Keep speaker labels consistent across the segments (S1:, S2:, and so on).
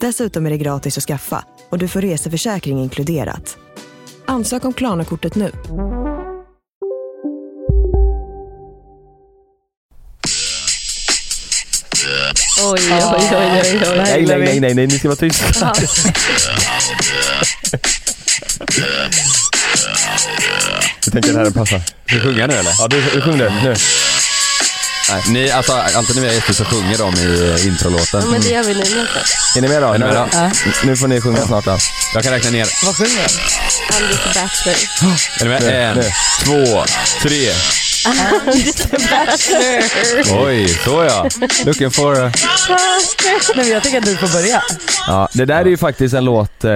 S1: Dessutom är det gratis att skaffa och du får reseförsäkring inkluderat. Ansök om Klarna-kortet nu.
S2: Oj, oj, oj, oj, oj.
S3: Nej, nej, nej, nej, nej, ni ska vara tysta. Jag tänker att det här passar.
S4: Ska vi sjunga nu eller?
S3: Ja, du, du sjöng det nu.
S4: Nej. Ni, alltså, alltid när vi har gäster så sjunger de i eh, introlåten.
S2: Ja, men det gör vi nu nästa.
S3: Är ni med då?
S4: Är ni med då?
S3: Nu, nu får ni sjunga snart då.
S4: Jag kan räkna ner.
S2: Vad sjunger Anders the Bachelor.
S4: Är ni med?
S3: Nu,
S4: en,
S3: nu.
S4: två, tre. Oj, så ja. Looking for... a-
S5: Nej, men jag tycker att du får börja.
S3: Ja, det där är ju faktiskt en låt... Eh,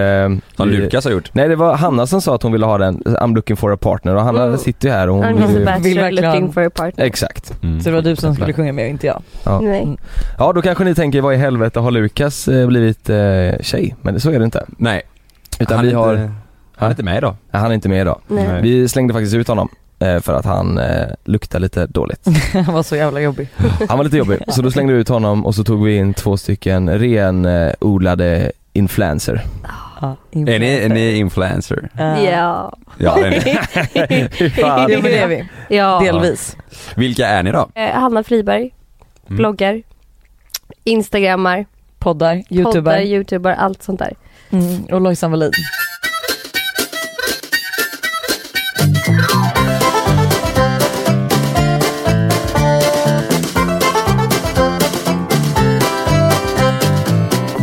S4: Som
S3: i-
S4: Lukas har gjort.
S3: Nej, det var Hanna som sa att hon ville ha den, I'm looking for a partner och Hanna
S2: Mm.
S3: sitter ju här och hon
S2: Anders
S3: vill
S2: the
S5: Vill
S3: ju...
S2: Bachelor
S5: verkligen-
S2: looking for a partner.
S3: Exakt.
S4: Mm.
S5: Så det var du som skulle sjunga med och inte jag.
S3: Ja.
S2: Nej.
S3: ja, då kanske ni tänker vad i helvete har Lukas eh, blivit eh, tjej? Men det- så är det inte.
S4: Nej.
S3: Utan
S4: han
S3: vi
S4: är
S3: har...
S4: Inte, han är inte med idag.
S3: Nej, Han är inte med idag.
S2: Nej.
S4: Nej.
S3: Vi slängde faktiskt ut honom eh, för att han eh, luktade lite dåligt.
S5: Han var så jävla jobbig.
S3: Han var lite jobbig, så då slängde vi ut honom och så tog vi in två stycken renodlade influencer.
S5: Ja,
S4: Är ni, är ni influencer?
S5: Ja.
S2: Ja.
S4: Ja, det är ni.
S5: Ja,
S3: Fan.
S5: men det är vi.
S2: ja.
S5: Delvis.
S4: Vilka är ni då?
S2: Eh, Hanna Friberg,
S4: Mm.
S2: bloggar, instagrammar,
S5: Poddar,
S2: poddar,
S5: youtuber.
S2: youtuber, allt sånt där.
S5: Mm, och Lojsan Wallin.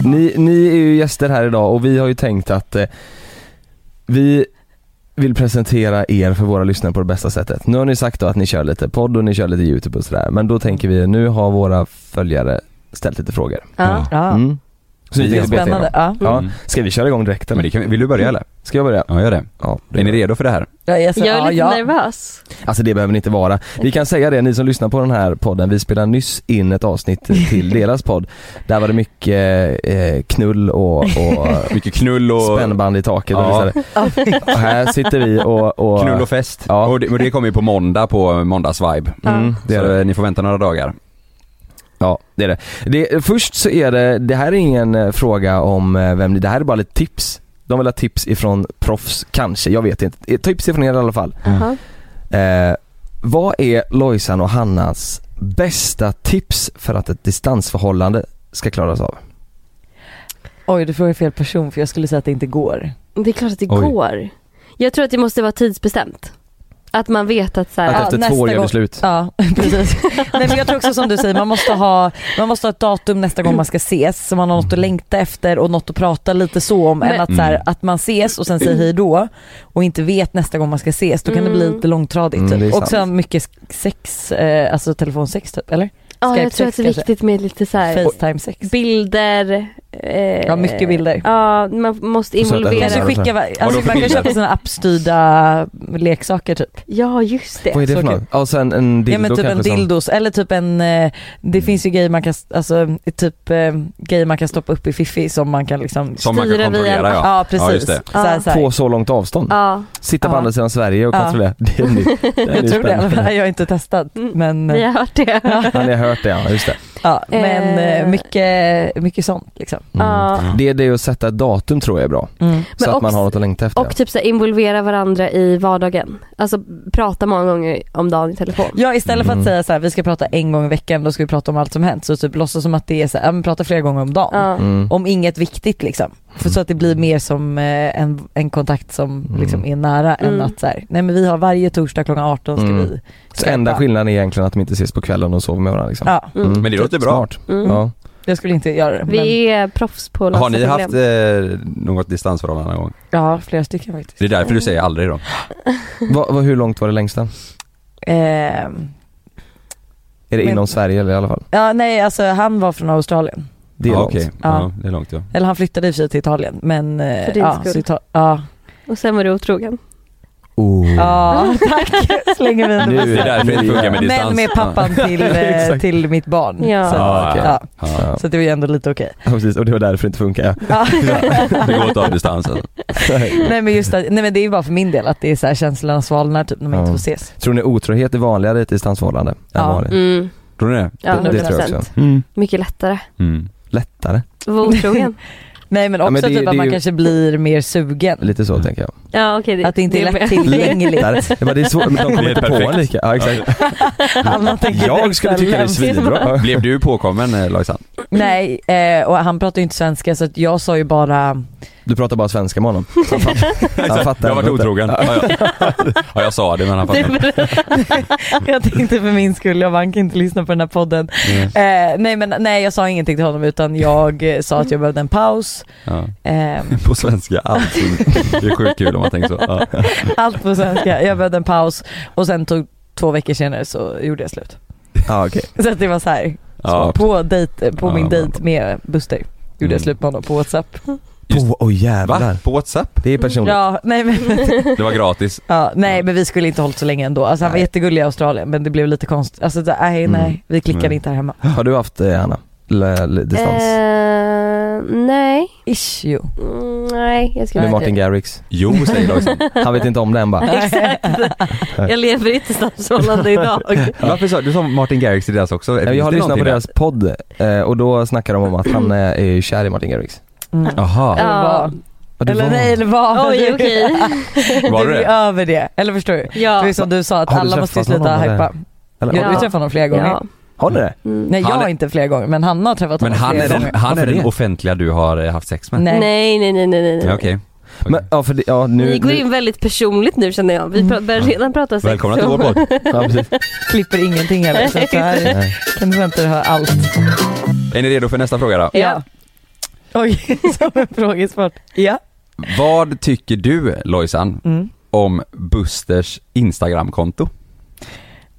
S3: Ni, ni är ju gäster här idag och vi har ju tänkt att eh, vi vill presentera er för våra lyssnare på det bästa sättet. Nu har ni sagt då att ni kör lite podd och ni kör lite youtube och sådär men då tänker vi nu har våra följare ställt lite frågor.
S2: Ja.
S5: Ja.
S3: Mm. Så vi
S4: Det är
S3: tänkte beta igenom.
S5: Spännande. Ja.
S3: Ja.
S4: Mm.
S3: Ska vi köra igång direkt
S4: Ja, men
S3: eller?
S4: det kan, vi- vill du börja eller?
S3: Ska jag börja?
S4: Ja, gör det.
S3: Ja, det
S4: Är ni redo för det här?
S5: Jag är, så,
S2: Jag är lite
S5: ja, ja.
S2: nervös.
S3: Alltså det behöver ni inte vara. Vi kan säga det, ni som lyssnar på den här podden, vi spelar nyss in ett avsnitt till deras podd. Där var det mycket eh, knull och, och
S4: Mycket knull och...
S3: spännband i taket och,
S4: Ja.
S3: ja. och här sitter vi och, och
S4: Knull och fest.
S3: Ja.
S4: Och det, och det kommer ju på måndag på måndagsvibe.
S3: mm, det är
S4: så
S3: det.
S4: eh, ni får vänta några dagar.
S3: Ja, det är det. det. Först så är det, det här är ingen eh, fråga om eh, vem ni- det här är bara lite tips. De vill ha tips ifrån proffs, kanske, jag vet inte. Eh, Tips ifrån er i alla fall.
S2: Jaha.
S3: Eh, vad är Lojsan och Hannas bästa tips för att ett distansförhållande ska klaras av?
S5: Oj, du frågar fel person för jag skulle säga att det inte går.
S2: Det är klart att det
S4: Oj.
S2: går. Jag tror att det måste vara tidsbestämt. Att man vet att så här,
S3: Att
S5: Ja,
S3: efter
S5: nästa
S3: två år gör
S5: gång.
S3: det slut.
S5: Ja, precis. Nej men jag tror också som du säger, man måste ha, man måste ha ett datum nästa gång man ska ses så man har något att längta efter och något att prata lite så om
S2: Men-
S5: än att, så här,
S4: Mm.
S5: att man ses och sen säger hej då och inte vet nästa gång man ska ses, då kan det bli
S2: Mm.
S5: lite långtradigt.
S3: Mm, det är
S5: typ. och
S3: sant.
S5: sen mycket sex, eh, alltså telefonsex typ, eller?
S2: ja, ah, jag
S5: Skype-sex
S2: tror att det är
S5: kanske.
S2: viktigt med lite så här,
S5: Facetime-sex.
S2: bilder. eh,
S5: Ja mycket bilder.
S2: Ja, man måste
S3: Och så att det-
S2: involvera.
S5: Kanske
S3: Ja,
S5: skicka, alltså,
S4: för
S5: man kan
S4: bilder?
S5: köpa sina appstyrda leksaker typ.
S2: Ja, just det.
S3: Vad är det
S5: så
S3: för
S5: kul.
S3: något? Ja, sen en dildo
S5: ja men typ en
S3: kanske som-
S5: dildos eller typ en, eh, det finns ju grejer man kan, alltså typ eh, grejer man kan stoppa upp i fiffi som man kan liksom
S4: Som man kan
S2: Styra via-
S4: kontrollera ja.
S5: Ja
S4: Ja,
S5: precis.
S4: just det.
S5: så här, så här.
S3: På så långt avstånd?
S2: Ja,
S3: Sitta på
S5: Ja.
S3: andra sidan Sverige och
S5: Ja.
S3: kontrollera? Det är nytt. Det är
S5: Jag
S3: nytt
S5: tror det i alla
S3: spännande.
S5: fall. Jag har inte testat
S2: Mm.
S5: men,
S2: ni har hört det. Ja.
S3: Ja, ni har hört det ja, just det.
S5: ja, men
S2: Eh.
S5: eh, mycket, mycket sånt liksom.
S3: Mm.
S2: Ja.
S3: Det är det att sätta ett datum tror jag är bra. Så
S2: Men
S3: att man
S2: också-
S3: har något att längta efter.
S2: Och typ så här, involvera varandra i vardagen. Alltså prata många gånger om dagen i telefon.
S5: Ja istället för
S3: Mm.
S5: att säga så här, vi ska prata en gång i veckan, då ska vi prata om allt som hänt. Så typ låtsas som att det är så här, ja, men prata flera gånger om dagen.
S2: Ja.
S3: Mm.
S5: Om inget viktigt liksom. För så att det blir mer som eh, en, en kontakt som
S3: Mm.
S5: liksom är nära än
S2: Mm.
S5: att så här, nej men vi har varje torsdag klockan 18 ska
S3: Mm.
S5: vi
S3: Så enda
S5: skylla.
S3: skillnaden är egentligen att de inte ses på kvällen och sover med varandra liksom.
S5: Ja,
S2: Mm.
S4: Men det låter bra.
S3: Smart.
S2: Mm.
S3: Ja.
S5: jag skulle inte göra det. Men,
S2: Vi är proffs på att lösa
S4: Har ni
S2: problem.
S4: haft eh, något distansförhållande någon gång?
S5: ja, flera stycken faktiskt.
S4: Det är därför du säger aldrig då?
S3: Va, va, hur långt var det längsta?
S5: Ehm,
S3: Är det
S5: Men-
S3: inom Sverige eller i alla fall?
S5: ja, nej alltså han var från Australien.
S3: Det är
S4: ja,
S3: långt.
S4: okej.
S5: Ja.
S4: Ja. det är långt ja.
S5: Eller han flyttade i och för sig till Italien men... eh,
S2: För din
S5: ja,
S2: skull.
S5: så Ita- ja.
S2: Och sen var du otrogen.
S3: Oh.
S5: ja, tack. Slänger vi
S3: Nu
S5: under
S3: är
S4: Det är därför det inte funkar med distans.
S5: Men med pappan till, eh,
S3: Exakt.
S5: till mitt barn.
S2: Ja.
S5: Så,
S4: Ja,
S5: att-
S4: okej.
S5: ja.
S4: Ja. Ja.
S5: så det var ju ändå lite okej.
S3: Ja, precis, och det var därför det inte funkar.
S5: Ja.
S4: Det går att ta distans alltså.
S5: nej men just att, nej men det är ju bara för min del att det är så här känslorna svalnar typ när man
S3: Ja.
S5: inte får ses.
S3: Tror ni otrohet är vanligare i ett distansförhållande? än
S5: Ja.
S3: vanligt?
S2: Mm.
S4: Tror ni det?
S2: Ja,
S3: det, det tror jag
S2: 100%.
S3: också.
S2: Mycket lättare.
S4: Mm.
S3: Lättare?
S2: Var otrogen.
S5: Nej men
S3: Ja,
S5: också
S3: men det-
S5: typ att
S3: det är
S5: man
S3: ju-
S5: kanske blir mer sugen.
S3: Lite
S4: Mm.
S3: så tänker jag.
S2: ja okej.
S5: Att det inte är
S2: med.
S5: lättillgängligt.
S3: Lättare? Jag bara, det är svårt, men de kommer
S4: Det är
S3: inte på
S4: perfekt.
S3: en lika. Ja, exakt.
S5: Alla tänker
S3: Jag
S5: direkt
S3: skulle
S5: så här,
S3: tycka det är
S5: lämna-
S3: svinbra.
S4: Blev du påkommen eh, Lojsan?
S5: Nej eh, och han pratar ju inte svenska så att jag sa ju bara
S3: Du pratar bara svenska med honom. Han fattar- Han fattar
S4: Jag har varit
S3: ändå inte.
S4: otrogen. Ja, ja. ja, jag sa det men han fattade inte.
S5: jag tänkte för min skull, jag vann inte lyssna på den här podden.
S4: Mm.
S5: Eh, nej men nej jag sa ingenting till honom utan jag eh, sa att jag behövde en paus.
S4: Ja.
S5: Eh,
S4: På svenska, alltid. Det är sjukt kul om man tänker så. Ja.
S5: allt på svenska, jag behövde en paus och sen tog två veckor senare så gjorde jag slut.
S3: Ja, okej.
S5: Så att det var så här,
S4: Ja.
S5: på, dejt, på
S4: Ja,
S5: min
S4: men-
S5: dejt med Buster gjorde jag
S4: Mm.
S5: slut med honom på Whatsapp.
S4: Just-
S3: På, oh, jävlar.
S4: Va? På Whatsapp?
S3: Det är personligt.
S5: Ja, nej, men,
S4: Det var gratis.
S5: ja, nej men vi skulle inte hållit så länge ändå. Alltså, han var
S3: Nej.
S5: jättegullig i Australien men det blev lite konstigt. Alltså nej,
S3: Mm.
S5: nej vi klickade
S4: Nej.
S5: inte här hemma.
S3: Har du haft eh, Anna? L- l- distans?
S2: Eh, nej.
S5: Ish jo.
S2: Mm, nej, jag skulle
S3: med
S2: inte.
S3: Martin Garrix?
S4: Jo, säger Lojsan.
S3: Han vet inte om det än bara.
S2: Exakt. Jag lever i ett distansförhållande idag.
S4: Varför sa du sa Martin Garrix till deras också?
S3: Nej, Jag Eh, har lyssnat på deras podd eh, och då snackar de om att han eh, är kär i Martin Garrix.
S5: Mm.
S4: Jaha,
S2: Ja.
S5: Eller var.
S3: Ja, du
S5: Eller
S3: var-
S5: nej, eller var
S2: Oj,
S5: du?
S2: okej.
S4: var
S5: du
S4: det
S5: är
S4: det?
S5: över det, eller förstår du? Det
S2: Ja.
S5: är som du sa, att
S3: Har du
S5: alla måste ju
S3: träffat
S5: sluta
S3: honom, eller?
S5: hypa.
S3: Eller,
S5: Jag har
S2: Ja.
S5: träffat honom flera gånger.
S2: ja.
S3: Har ni det?
S2: Mm.
S5: Nej jag
S4: Han är-
S5: inte flera gånger, men han har träffat
S4: Men
S5: honom
S4: han
S5: flera
S4: är
S5: gånger.
S4: den, han är
S3: Varför
S4: den
S3: det?
S4: offentliga du har eh, haft sex med?
S5: Nej.
S2: Nej, nej, nej, nej, nej. nej.
S4: Ja, Okej.
S3: Men, ja, för det, ja, nu,
S2: Ni går
S3: nu-
S2: in väldigt personligt nu känner jag. Vi pra- börjar redan prata sex.
S4: Mm. Välkomna till vår podd.
S3: Ja, precis.
S5: klipper ingenting heller. Så att det här är,
S3: Nej.
S5: kan du vänta dig höra allt.
S4: Är ni redo för nästa fråga då?
S2: Ja.
S5: Oj, som en frågesport. Ja.
S4: Vad tycker du Lojsan
S5: Mm.
S4: om Busters Instagramkonto?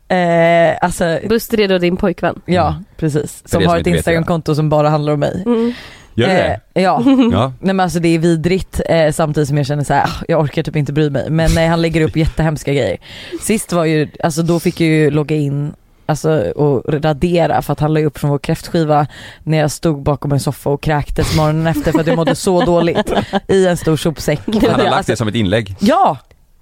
S5: Eh, alltså,
S2: Buster är då din pojkvän.
S5: ja precis.
S4: För
S5: Som
S4: det
S5: har ett
S4: som inte vet
S5: Instagramkonto som bara handlar om mig.
S2: Mm.
S4: Gör du det?
S5: Eh, ja.
S4: Ja.
S5: Nej men alltså det är vidrigt eh, samtidigt som jag känner så här, ah, jag orkar typ inte bry mig. Men nej, han lägger upp jättehemska grejer. Sist var ju, alltså då fick jag ju logga in Alltså och radera för att han la ju upp från vår kräftskiva när jag stod bakom en soffa och kräktes morgonen efter för att jag mådde så dåligt i en stor sopsäck. För
S4: Han
S5: att
S4: har
S5: jag-
S3: Alltså-
S4: lagt det som ett inlägg.
S5: Ja!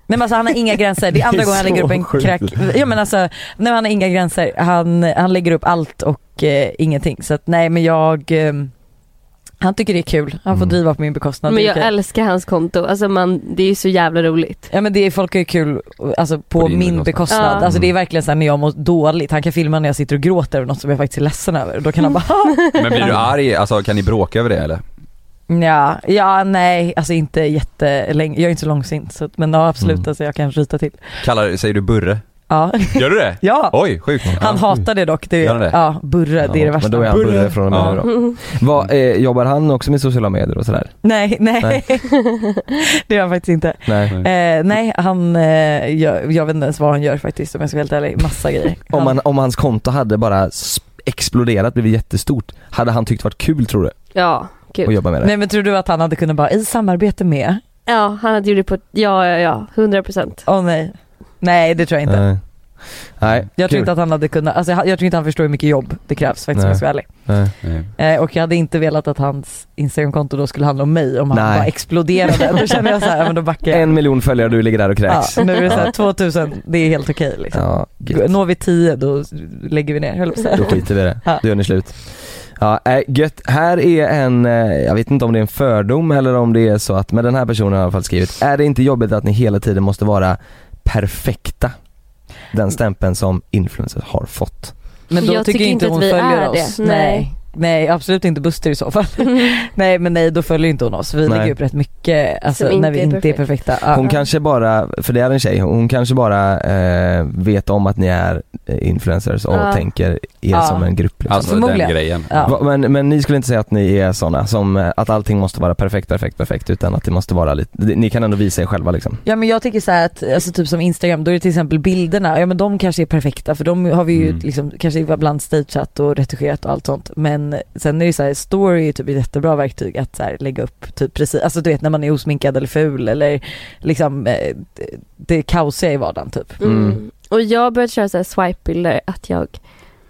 S5: Nej men alltså han har inga gränser, det är andra
S3: Det är
S5: gången han lägger
S3: så
S5: upp en
S3: sjukt.
S5: kräk... Ja men alltså, nej men han har inga gränser. Han, han lägger upp allt och eh, ingenting. Så att nej men jag, eh, han tycker det är kul. Han får
S3: Mm.
S5: driva på min bekostnad.
S2: Men
S5: Det är
S2: jag
S5: okej.
S2: älskar hans konto. Alltså man, det är ju så jävla roligt.
S5: Ja men det är, folk har ju kul alltså, på,
S4: På din
S5: min
S4: bekostnad.
S5: bekostnad.
S2: Ja.
S5: Alltså det är verkligen såhär när jag mår dåligt, han kan filma när jag sitter och gråter över något som jag faktiskt är ledsen över. Då kan han bara
S4: Men blir du arg, alltså kan ni bråka över det eller?
S5: ja, ja nej alltså inte jättelänge, jag är inte så långsint så, att- men ja absolut
S3: Mm.
S5: alltså jag kan ryta till.
S4: Kallar, säger du Burre?
S5: Ja,
S4: Gör du det?
S5: ja.
S4: Oj, sjukt.
S5: han hatar det dock. Det
S4: Gör
S5: är,
S4: han det?
S5: Ja, burra det är det
S3: Ja,
S5: värsta.
S3: Men då är han burre från och med
S4: Ja.
S3: nu då. Vad, eh, jobbar han också med sociala medier och sådär?
S5: Nej, nej. det gör han faktiskt inte.
S3: Nej.
S5: Eh, nej, han, eh, jag, jag vet inte ens vad han gör faktiskt om jag ska vara helt ärlig. Massa grejer.
S3: Om,
S5: Han-
S3: han, om hans konto hade bara sp- exploderat, blivit jättestort, hade han tyckt varit kul tror du?
S2: Ja,
S3: Att
S2: kul.
S3: jobba med det?
S5: Nej men tror du att han hade kunnat bara, i samarbete med?
S2: Ja, han hade gjort det på, ja, ja, ja, 100 procent.
S5: Åh nej. Nej det tror jag inte.
S3: Nej. Nej,
S5: Jag tror
S3: kul.
S5: inte att han hade kunnat, alltså jag, jag tror inte han förstår hur mycket jobb det krävs faktiskt om jag ska vara ärlig.
S3: Nej.
S4: Nej.
S5: Eh, och jag hade inte velat att hans instagramkonto då skulle handla om mig om han
S3: Nej.
S5: bara exploderade. då känner jag så här, ja, men då backar jag.
S3: En miljon följare och du ligger där och
S5: Ja,
S3: kräks.
S5: nu är det så här, 2000, det är helt okej liksom.
S3: Ja, gött.
S5: Når vi 10 då lägger vi ner, höll jag på att säga.
S3: Då skiter vi i det.
S5: Ja.
S3: Då gör ni slut. Ja, äh, gött. Här är en, eh, jag vet inte om det är en fördom eller om det är så att, men den här personen har i alla fall skrivit, är det inte jobbigt att ni hela tiden måste vara perfekta? Den stämpeln som influencers har fått.
S5: Men då
S2: Jag
S5: tycker
S2: tycker
S5: inte
S2: inte
S5: hon
S2: att vi
S5: följer
S2: är
S5: oss.
S2: det. Nej.
S5: Nej absolut inte Buster i så fall. nej men nej då följer inte hon oss. Vi
S3: Nej.
S5: lägger upp rätt mycket alltså,
S2: Som inte
S5: när vi
S2: är
S5: inte är perfekta. Ja.
S3: Hon kanske bara, för det är en tjej, hon kanske bara eh, vet om att ni är eh, influencers och
S2: Ja.
S3: tänker er
S5: Ja.
S3: som en grupp liksom.
S4: Alltså den
S5: Förmodligen.
S4: grejen.
S5: Ja.
S3: Va- Men, men ni skulle inte säga att ni är sådana som, eh, att allting måste vara perfekt, perfekt, perfekt utan att det måste vara lite, ni kan ändå visa er själva liksom.
S5: Ja men jag tycker så här att, alltså typ som Instagram, då är det till exempel bilderna, ja men de kanske är perfekta för de har vi ju
S4: Mm.
S5: liksom, kanske ibland stageat och retuscherat och allt sånt. Men sen är det så här, story är ju typ ett jättebra verktyg att så här, lägga upp typ precis, alltså du vet när man är osminkad eller ful eller liksom eh, det- det kaosiga i vardagen typ.
S2: Mm.
S3: Mm.
S2: Och jag har börjat köra så här swipe-bilder att jag...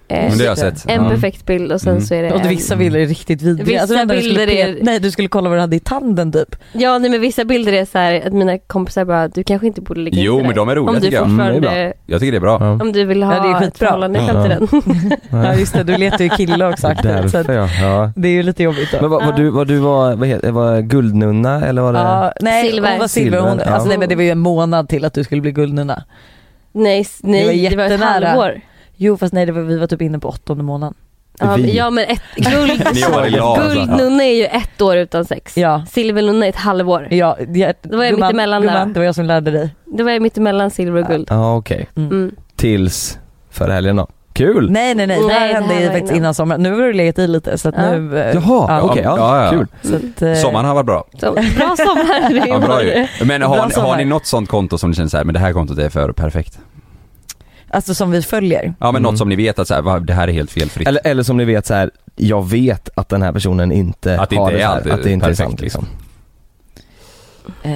S2: Eh,
S4: Men det har jag sett.
S2: en
S4: Ja.
S2: perfekt bild och sen
S4: Mm.
S2: så är det
S5: Och
S2: en...
S5: vissa bilder är riktigt vidriga.
S2: Vissa
S5: det enda du skulle
S2: bilder är-
S5: peta- Nej du skulle kolla vad du hade i tanden typ.
S2: Ja nej, men vissa bilder är så här att mina kompisar bara, du kanske inte borde lägga
S4: Jo
S2: ut det
S4: men
S2: där.
S4: de är roliga
S2: Om du
S4: tycker jag.
S3: Mm, det är
S2: fortfarande,
S4: Jag tycker det är bra.
S3: Ja.
S2: om du vill ha
S5: Ja, det är
S2: ett
S5: skitbra.
S2: förhållande i
S3: Ja.
S2: framtiden.
S5: Ja just det, du letar ju kille också aktivt. Så att
S3: Därför ja. ja.
S5: det är ju lite jobbigt då.
S3: Men vad, vad du, vad du var, vad heter, var guldnunna eller var det?
S5: Ja, nej,
S2: Silver.
S5: hon var silver. Hon,
S3: Silver, ja.
S5: alltså, nej, men det var ju en månad till att du skulle bli guldnunna.
S2: nej, s- nej det var, ett
S5: jättenära.
S2: halvår.
S5: Jo fast nej, det var, vi var typ inne på åttonde månaden.
S2: Ja, men-
S3: Vi.
S2: ja men ett, guld,
S4: Ni jobbar i lag, alltså.
S2: guldnunna är ju ett år utan sex.
S5: Ja.
S2: Silvernunna är ett halvår.
S5: Ja, det,
S2: Då var jag mitt emellan där.
S5: gumman, det var jag som lärde dig.
S2: Det var ju mittemellan silver och guld.
S3: Ja okej,
S2: Mm.
S3: tills förra helgen då. Kul!
S5: Nej nej nej, det
S2: Nej,
S5: här
S2: det
S5: hände
S2: här
S5: ju
S2: var
S5: faktiskt
S2: innan.
S5: innan sommaren. Nu har du legat i lite så att
S2: Ja.
S5: nu... eh,
S3: Jaha,
S5: ja.
S3: okej, ja,
S4: Ja, ja.
S3: kul.
S5: Så att, eh,
S4: Sommaren har varit bra.
S2: Så, bra sommar i
S4: Ja, bra ju.
S2: år.
S4: Men
S5: Bra
S4: har, ni- har
S5: sommar.
S4: ni något sånt konto som ni känner så här, men det här kontot är för perfekt?
S5: Alltså som vi följer.
S4: Ja men
S3: Mm.
S4: något som ni vet att så här, va, det här är helt felfritt.
S3: Eller, eller som ni vet så här, jag vet att den här personen inte
S4: Att det
S3: har
S4: inte
S3: det
S4: är
S3: så här,
S4: alltid
S3: att det inte är
S4: perfekt,
S3: sant liksom.
S5: Eh,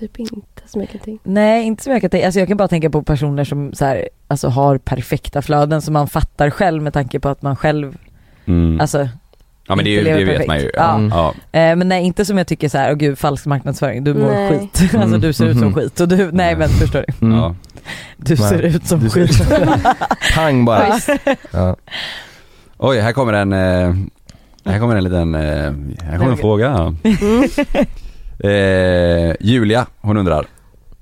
S2: Typ inte så mycket ting.
S5: nej inte så mycket. tänka- Alltså jag kan bara tänka på personer som så här, alltså har perfekta flöden som man fattar själv med tanke på att man själv,
S4: Mm.
S5: alltså
S4: ja men det, är ju-
S5: inte
S4: det
S5: lever
S4: vet man ju.
S5: perfekt. Ja.
S3: Mm.
S4: Ja.
S5: Eh, men nej inte som jag tycker så här, åh gud falsk marknadsföring, du mår
S2: Nej.
S5: skit. Alltså
S3: Mm.
S5: du ser ut som
S3: Mhm.
S5: skit och du, nej men förstår du.
S3: Mm.
S4: Ja.
S5: Du
S3: Nej.
S5: ser ut som
S3: Du ser
S5: skit.
S3: Pang bara. Ja.
S4: Oj, här kommer en, eh, här kommer en liten, eh, här kommer en fråga.
S5: Mm.
S4: Eh, Julia, hon undrar.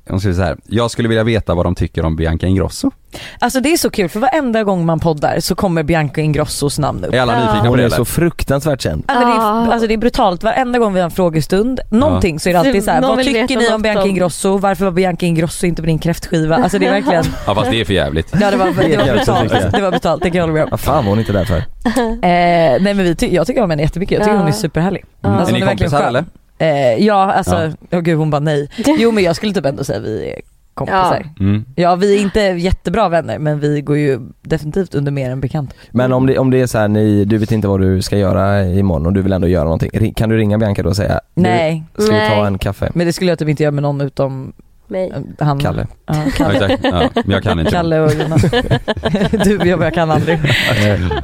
S4: Hon skriver så här. Jag skulle vilja veta vad de tycker om Bianca Ingrosso.
S5: Alltså det är så kul för varenda gång man poddar så kommer Bianca Ingrossos namn upp.
S4: Är alla
S2: Ja.
S4: nyfikna på
S3: Hon
S4: det
S3: är så
S4: eller?
S3: fruktansvärt känd.
S5: Ja, men det,
S2: Ah.
S5: är, alltså det är brutalt, varenda gång vi har en frågestund, någonting så är det alltid så här,
S2: Någon
S5: vad
S2: vill
S5: tycker
S2: veta
S5: ni
S2: något
S5: om Bianca
S2: om-
S5: Ingrosso? Varför var Bianca Ingrosso inte på din kräftskiva? Alltså det är verkligen,
S4: Ja fast det är för jävligt.
S5: ja det var, det var
S3: jävligt tycker jag.
S5: brutalt, Alltså, det var brutalt, det kan jag hålla med om.
S3: Vad fan var hon inte där för?
S5: Eh, nej men vi ty- jag tycker om henne jättemycket, jag tycker
S2: Ja.
S5: hon är superhärlig.
S2: Mm.
S5: Alltså,
S4: är ni
S5: hon verkligen
S4: kompisar
S5: skön.
S4: eller?
S5: Eh, ja alltså,
S4: Ja.
S5: ja. gud hon bara nej. Jo men jag skulle typ ändå säga vi är kompisar.
S2: Ja.
S5: Ja.
S4: Mm.
S5: vi är inte jättebra vänner men vi går ju definitivt under mer än bekant.
S3: Men om det, om det är så här, ni, du vet inte vad du ska göra imorgon och du vill ändå göra någonting. Ring- Kan du ringa Bianca då och säga
S5: Nej.
S3: "Du, ska vi ta
S2: Nej.
S3: en kaffe?
S5: Men det skulle jag typ inte göra med någon utom
S2: Mig.
S5: eh, han
S3: Kalle.
S5: Ja,
S4: Ja,
S5: Kalle.
S4: exakt. Ja, men jag kan inte.
S5: Kalle och Jonas. du, jag, jag kan aldrig.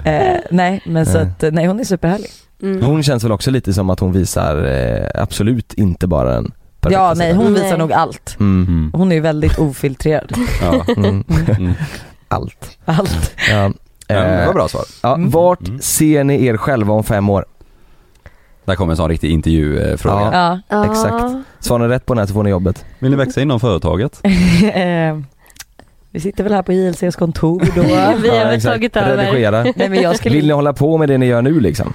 S5: Eh, nej men så att, eh, nej hon är superhärlig.
S2: Mm.
S3: Eh, Hon känns väl också lite som att hon visar eh, absolut inte bara den perfekta
S5: Ja nej
S3: sidan.
S5: hon
S2: Nej.
S5: visar nog allt.
S3: Mm.
S4: Mm.
S5: Hon är ju väldigt ofiltrerad.
S4: Ja.
S3: Mm.
S4: Mm.
S3: Allt.
S5: Allt.
S3: Ja.
S4: Ja, men det var
S3: Eh,
S4: bra svar.
S3: ja,
S5: Mm.
S3: vart
S4: Mm.
S3: ser ni er själva om fem år?
S4: Där kommer en sån riktig intervjufråga.
S3: Ja.
S5: Ja.
S2: Ja.
S3: exakt. Svarar ni rätt på den här så får ni jobbet.
S4: Vill ni växa inom företaget?
S5: Eh, vi sitter väl här på JLCs kontor då.
S2: Vi har väl
S3: exakt.
S2: tagit över.
S3: Redigera.
S5: nej men jag skulle
S3: Vill ni hålla på med det ni gör nu liksom?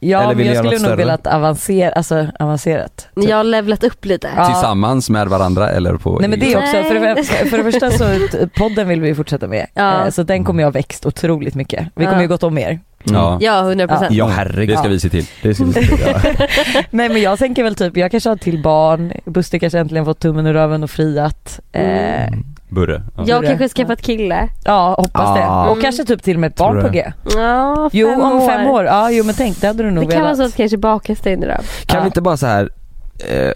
S5: Ja
S3: Eller vill
S5: men
S3: ni
S5: jag
S3: göra något
S5: skulle nog
S3: större?
S5: velat avancera, alltså avancerat. typ.
S2: Jag har levlat upp lite.
S5: Ja.
S4: Tillsammans med varandra eller på
S5: Nej men det är också,
S2: Nej.
S5: för det, för det första så t- podden vill vi ju fortsätta med.
S2: Ja.
S5: Eh, Så den kommer jag ha växt otroligt mycket. Vi kommer
S2: Ja.
S5: ju gått om mer.
S4: Ja.
S2: Ja, 100 procent.
S3: Ja
S4: Det
S3: herregud.
S4: ska vi se till.
S3: Det ska vi se till, ja.
S5: Nej men jag tänker väl typ, jag kanske har till barn, Buster kanske äntligen fått tummen ur röven och friat. Eh,
S4: Burre. Ja.
S2: Jag
S5: Borde-
S2: kanske skaffat kille.
S5: ja hoppas
S3: Ah.
S5: det. Och kanske typ till och med ett
S3: Tror
S5: barn
S3: du
S5: på
S3: det?
S5: G.
S2: Ja,
S5: Jo om fem år, ja jo men tänk det hade du nog
S2: Det kan vara
S5: velat.
S2: så att kanske bakas dig nu då.
S3: Kan
S5: Ja.
S3: vi inte bara så här eh,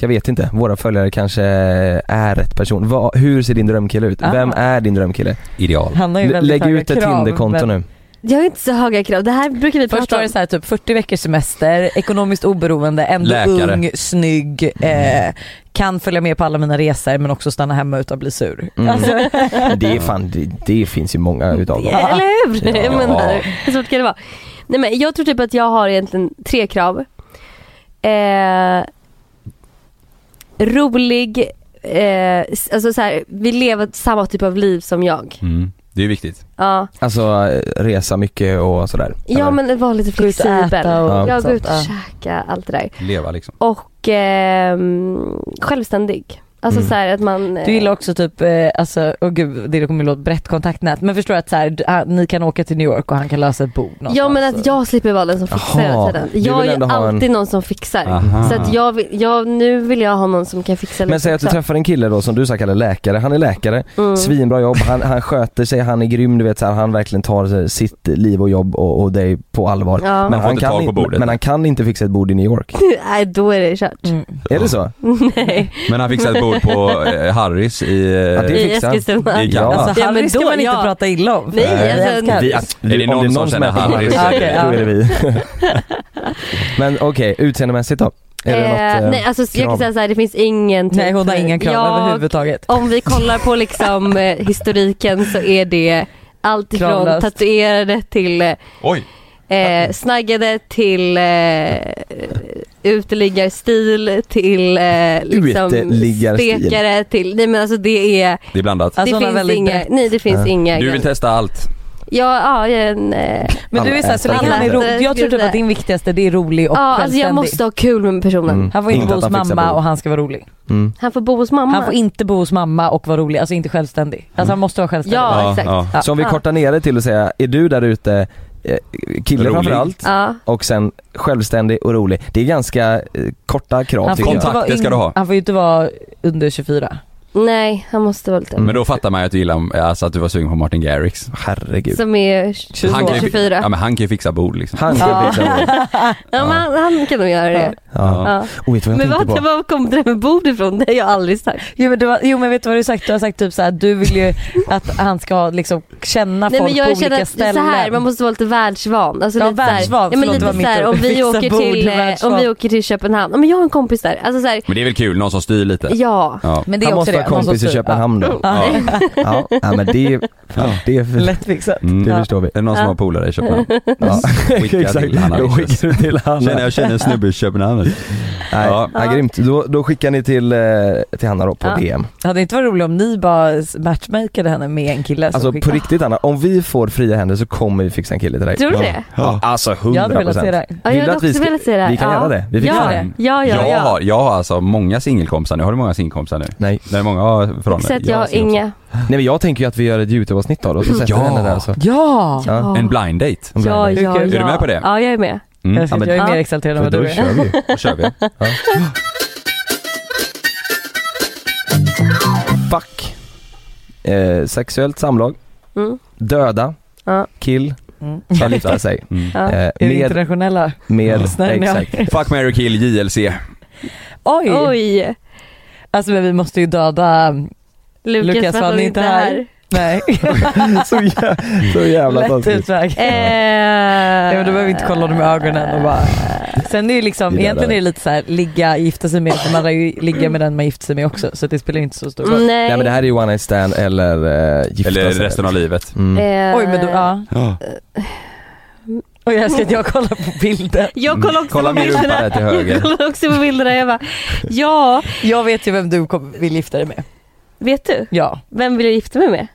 S3: jag vet inte, våra följare kanske är rätt person. Va, hur ser din drömkille ut?
S5: Ah.
S3: Vem är din drömkille?
S4: Ideal.
S5: Han har ju
S3: L-
S5: väldigt
S3: lägg
S5: höga
S3: ut ett
S5: krav,
S3: Tinderkonto
S5: men-
S3: nu.
S2: Jag har inte så höga krav. Det här brukar vi
S5: Först
S2: prata
S5: var
S2: om.
S5: det så här, typ 40 veckors semester, ekonomiskt oberoende, ändå
S4: Läkare.
S5: ung, snygg, eh, kan följa med på alla mina resor men också stanna hemma utan att bli sur.
S3: Mm.
S5: Alltså,
S3: Men Det, är fan, det, det finns ju många utav dem.
S5: Ja.
S2: Eller hur?
S3: Ja.
S2: Jag menar, hur svårt kan det vara? Nej, men jag tror typ att jag har egentligen tre krav. Eh, rolig, eh, s- alltså så här, vill leva samma typ av liv som jag.
S4: Mm. Det är ju viktigt.
S2: Ja,
S3: Alltså eh, resa mycket och sådär.
S2: ja
S3: Eller?
S2: men var lite
S5: Gå ut och
S2: flexibel.
S5: äta och
S2: ja, gå
S5: sånt,
S2: ut och
S5: ja.
S2: käka, allt det där.
S4: Leva liksom.
S2: Och ehm, självständig. Alltså
S3: Mm.
S2: så här att man... eh,
S5: Du gillar också typ, eh, alltså, åh gud det kommer låta brett kontaktnät men förstår du att så här, du- han- ni kan åka till New York och han kan lösa ett bord någonstans.
S2: Ja men att jag slipper vara den som fixar
S3: Jaha,
S2: hela tiden.
S3: du vill
S2: Jag är ju
S3: ändå ha en-
S2: alltid någon som fixar.
S4: Aha.
S2: Så att jag, vill, jag, nu vill jag ha någon som kan fixa lite
S3: Men säg att du
S2: också.
S3: träffar en kille då som du så kallar läkare, han är läkare,
S2: Mm.
S3: svinbra jobb, han, han sköter sig, han är grym, du vet så här, han verkligen tar så här, sitt liv och jobb och, och dig på allvar.
S2: Ja.
S4: får
S3: Men, han
S4: inte
S3: kan
S4: tag på
S3: inte,
S4: bordet.
S3: men han kan inte fixa ett bord i New York.
S2: Nej då är det kört.
S5: Mm.
S3: Är det så?
S2: Nej.
S4: Men han fixade ett bord på eh, Harrys i... eh,
S3: Ja, det-
S2: I
S3: fixar.
S2: Eskilstuna.
S4: I Kalmar.
S5: Alltså
S2: Ja,
S5: Harry
S2: men
S5: ska
S2: då,
S5: man inte
S2: ja.
S5: prata illa om.
S2: Nej,
S5: Jag
S2: alltså-
S5: älskar
S3: Vi,
S5: Harry.
S3: att,
S4: Är det någon som känner
S3: äter
S4: Harry?
S3: Harry,
S5: Ja, okej, ja.
S3: Då är det vi. Men okej, utseendemässigt då? Är det något,
S2: Eh,
S3: eh,
S2: nej alltså jag
S3: krav?
S2: kan säga såhär, det finns ingen typ,
S5: Nej hon har inga krav
S2: jag,
S5: överhuvudtaget.
S2: Om vi kollar på liksom eh, historiken så är det allt ifrån
S5: Kravlöst.
S2: tatuerade till eh,
S4: Oj!
S2: Eh, snaggade till eh, uteliggarstil till eh, liksom
S3: Uteliggarstil.
S2: stekare till, nej men alltså det är,
S4: Det är blandat.
S5: Alltså, hon
S2: det
S5: har
S2: finns
S5: väldigt
S2: inga,
S5: brett.
S2: nej det finns inga
S4: Du vill
S2: gränser.
S4: testa allt.
S2: Ja, ja, jag är en, eh,
S5: Men du är såhär, så länge
S2: Alla
S5: han är
S2: äter,
S5: rolig. Jag tror typ
S2: skulle-
S5: att din viktigaste det är rolig och
S2: ja alltså
S5: självständig.
S2: jag måste ha kul med personen.
S3: Mm.
S5: Han får inte,
S3: Inte
S5: bo
S3: att
S5: hos
S3: han fixar
S5: mamma
S3: bord.
S5: och han ska vara rolig.
S3: Mm.
S2: Han får bo hos mamma.
S5: Han får inte bo hos mamma och vara rolig, alltså inte självständig. Alltså
S3: Mm.
S5: han måste vara självständig.
S2: Ja,
S4: Ja,
S2: exakt.
S4: ja.
S2: Ja.
S3: Så om vi
S2: Ja.
S3: kortar ner det till att säga, är du där ute, eh, kille
S4: Rolig.
S3: framförallt, och sen självständig och rolig. Det är ganska eh, korta krav
S5: Han
S3: tycker
S5: får,
S3: jag.
S5: inte
S4: Kontakt,
S5: vara
S4: det ska
S5: yng-
S4: du ha.
S5: han får ju inte vara under 24.
S2: nej han måste vara
S3: Mm.
S2: lite,
S4: Men då fattar man ju att du gillar, alltså att du var sugen på Martin Garrix.
S3: Herregud.
S2: som är
S5: 22.
S4: Han kan ju,
S2: 24.
S4: ja men han kan ju fixa bord liksom.
S3: Han kan
S2: Ja.
S3: fixa det.
S2: ja, men han, han kan nog göra det.
S3: Ja.
S2: Ja.
S3: Och vet du vad jag
S2: Men
S3: tänkte
S2: vad,
S3: på?
S2: vad kom det där med bord ifrån? Det har jag aldrig sagt.
S5: Jo men, du, har- jo men vet du vad du har sagt? Du har sagt typ såhär, du vill ju att han ska liksom känna
S2: Nej
S5: folk
S2: men
S5: på
S2: jag
S5: olika
S2: känner att det är
S5: ställen.
S2: så här, man måste vara lite världsvan. Alltså
S5: Ja,
S2: lite
S5: världsvan.
S2: så här, ja, men
S5: Förlåt,
S2: lite
S5: det var
S2: så
S5: mitt
S2: här,
S5: ord.
S2: om, vi
S5: Fixa
S2: åker
S5: bord,
S2: till, eh,
S5: världsvan.
S2: om vi åker till Köpenhamn, ja, men jag har en kompis där. Alltså så här,
S4: Men det är väl kul, någon som styr lite.
S2: ja.
S4: Ja.
S5: Men det är
S3: Han
S5: också
S3: måste
S5: det.
S3: ha kompis i
S5: styra.
S3: Köpenhamn då.
S5: Ja.
S4: Ja.
S3: Ja, ja men det är, fan, det, är
S5: Ja.
S3: det
S5: Lättfixat.
S4: Mm. Är
S3: förstår vi.
S4: det någon som
S2: Ja.
S4: har polare i Köpenhamn?
S3: Ja.
S4: Skicka till Hanna
S3: Då
S4: Vichers.
S3: skickar du till Hanna.
S4: Känner, jag känner en snubbe i Köpenhamn.
S3: Nej,
S4: Ja.
S3: ja. grymt. Då, då skickar ni till, eh, till Hanna då på
S2: Ja.
S3: DM.
S5: Det hade inte varit roligt om ni bara matchmakade henne med en kille som
S3: Alltså
S5: skickade-
S3: på riktigt Hanna, om vi får fria händer så kommer vi fixa en kille till dig.
S2: Tror du det?
S3: Ja, alltså 100%.
S5: Jag hade velat se det.
S2: Ja,
S3: Vill
S2: jag
S3: du
S2: hade
S3: att vi
S2: också
S3: ska-
S2: velat se det.
S3: vi kan
S2: ja.
S3: göra det. Vi fixar
S2: ja.
S5: det.
S2: Ja, ja,
S4: jag,
S2: ja.
S4: Har, jag har alltså många singelkompisar nu. Har du många singelkompisar nu?
S3: Nej.
S4: Det är många ja, förhållanden.
S2: Så att jag har
S4: singelkompisar.
S2: inga.
S3: Nej men jag tänker ju att vi gör ett YouTube-avsnitt av det och så sätter vi
S4: Ja.
S3: henne där så.
S5: Ja!
S3: Ja. Mm.
S2: Ja.
S4: En blind date.
S3: Om
S2: Ja,
S3: det-
S2: ja, ja.
S5: Är
S4: du med på det?
S2: Ja, jag är med.
S4: Mm. Ja,
S5: Jag,
S4: men
S5: jag är
S2: Ja.
S5: mer exalterad än vad
S3: då
S5: du är.
S3: kör vi.
S4: då kör vi.
S3: Fuck. Eh, sexuellt samlag.
S2: Mm.
S3: Döda.
S2: Ja.
S3: Kill.
S5: Mm.
S3: Eller gifta sig.
S4: Mm.
S2: Ja.
S3: Eh,
S5: Är det
S3: med,
S5: internationella?
S3: med,
S5: Snälla.
S3: exakt.
S4: Fuck, marry, kill, JLC.
S5: Oj!
S2: Oj,
S5: Alltså men vi måste ju döda,
S2: Lukas,
S5: Lukas,
S2: för att han inte är här.
S5: nej,
S3: Så, jä, så jävla
S5: lätt
S3: taskigt.
S5: utväg.
S2: Eh,
S5: Ja, men då behöver vi inte kolla honom i ögonen och bara... Sen är det ju liksom,
S3: Gillar
S5: egentligen
S3: det.
S5: är det lite så här, ligga, gifta sig med, för man lär ju ligga med den man gifter sig med också så det spelar inte så stor roll.
S2: Nej.
S3: Nej men det här är ju one night stand eller eh, gifta
S4: Eller
S3: sig.
S4: resten av livet.
S3: Mm.
S2: Eh,
S5: Oj men då, ja. Och jag älskar att jag kollar på bilden.
S2: Jag kollar också
S4: Mm. Kolla
S2: på
S4: min rumpa
S2: bilderna.
S4: där till höger.
S2: Jag kollar också på bilderna. Jag bara, ja,
S5: Jag vet ju vem du kom, vill gifta dig med.
S2: vet du?
S5: Ja,
S2: Vem vill jag gifta mig med?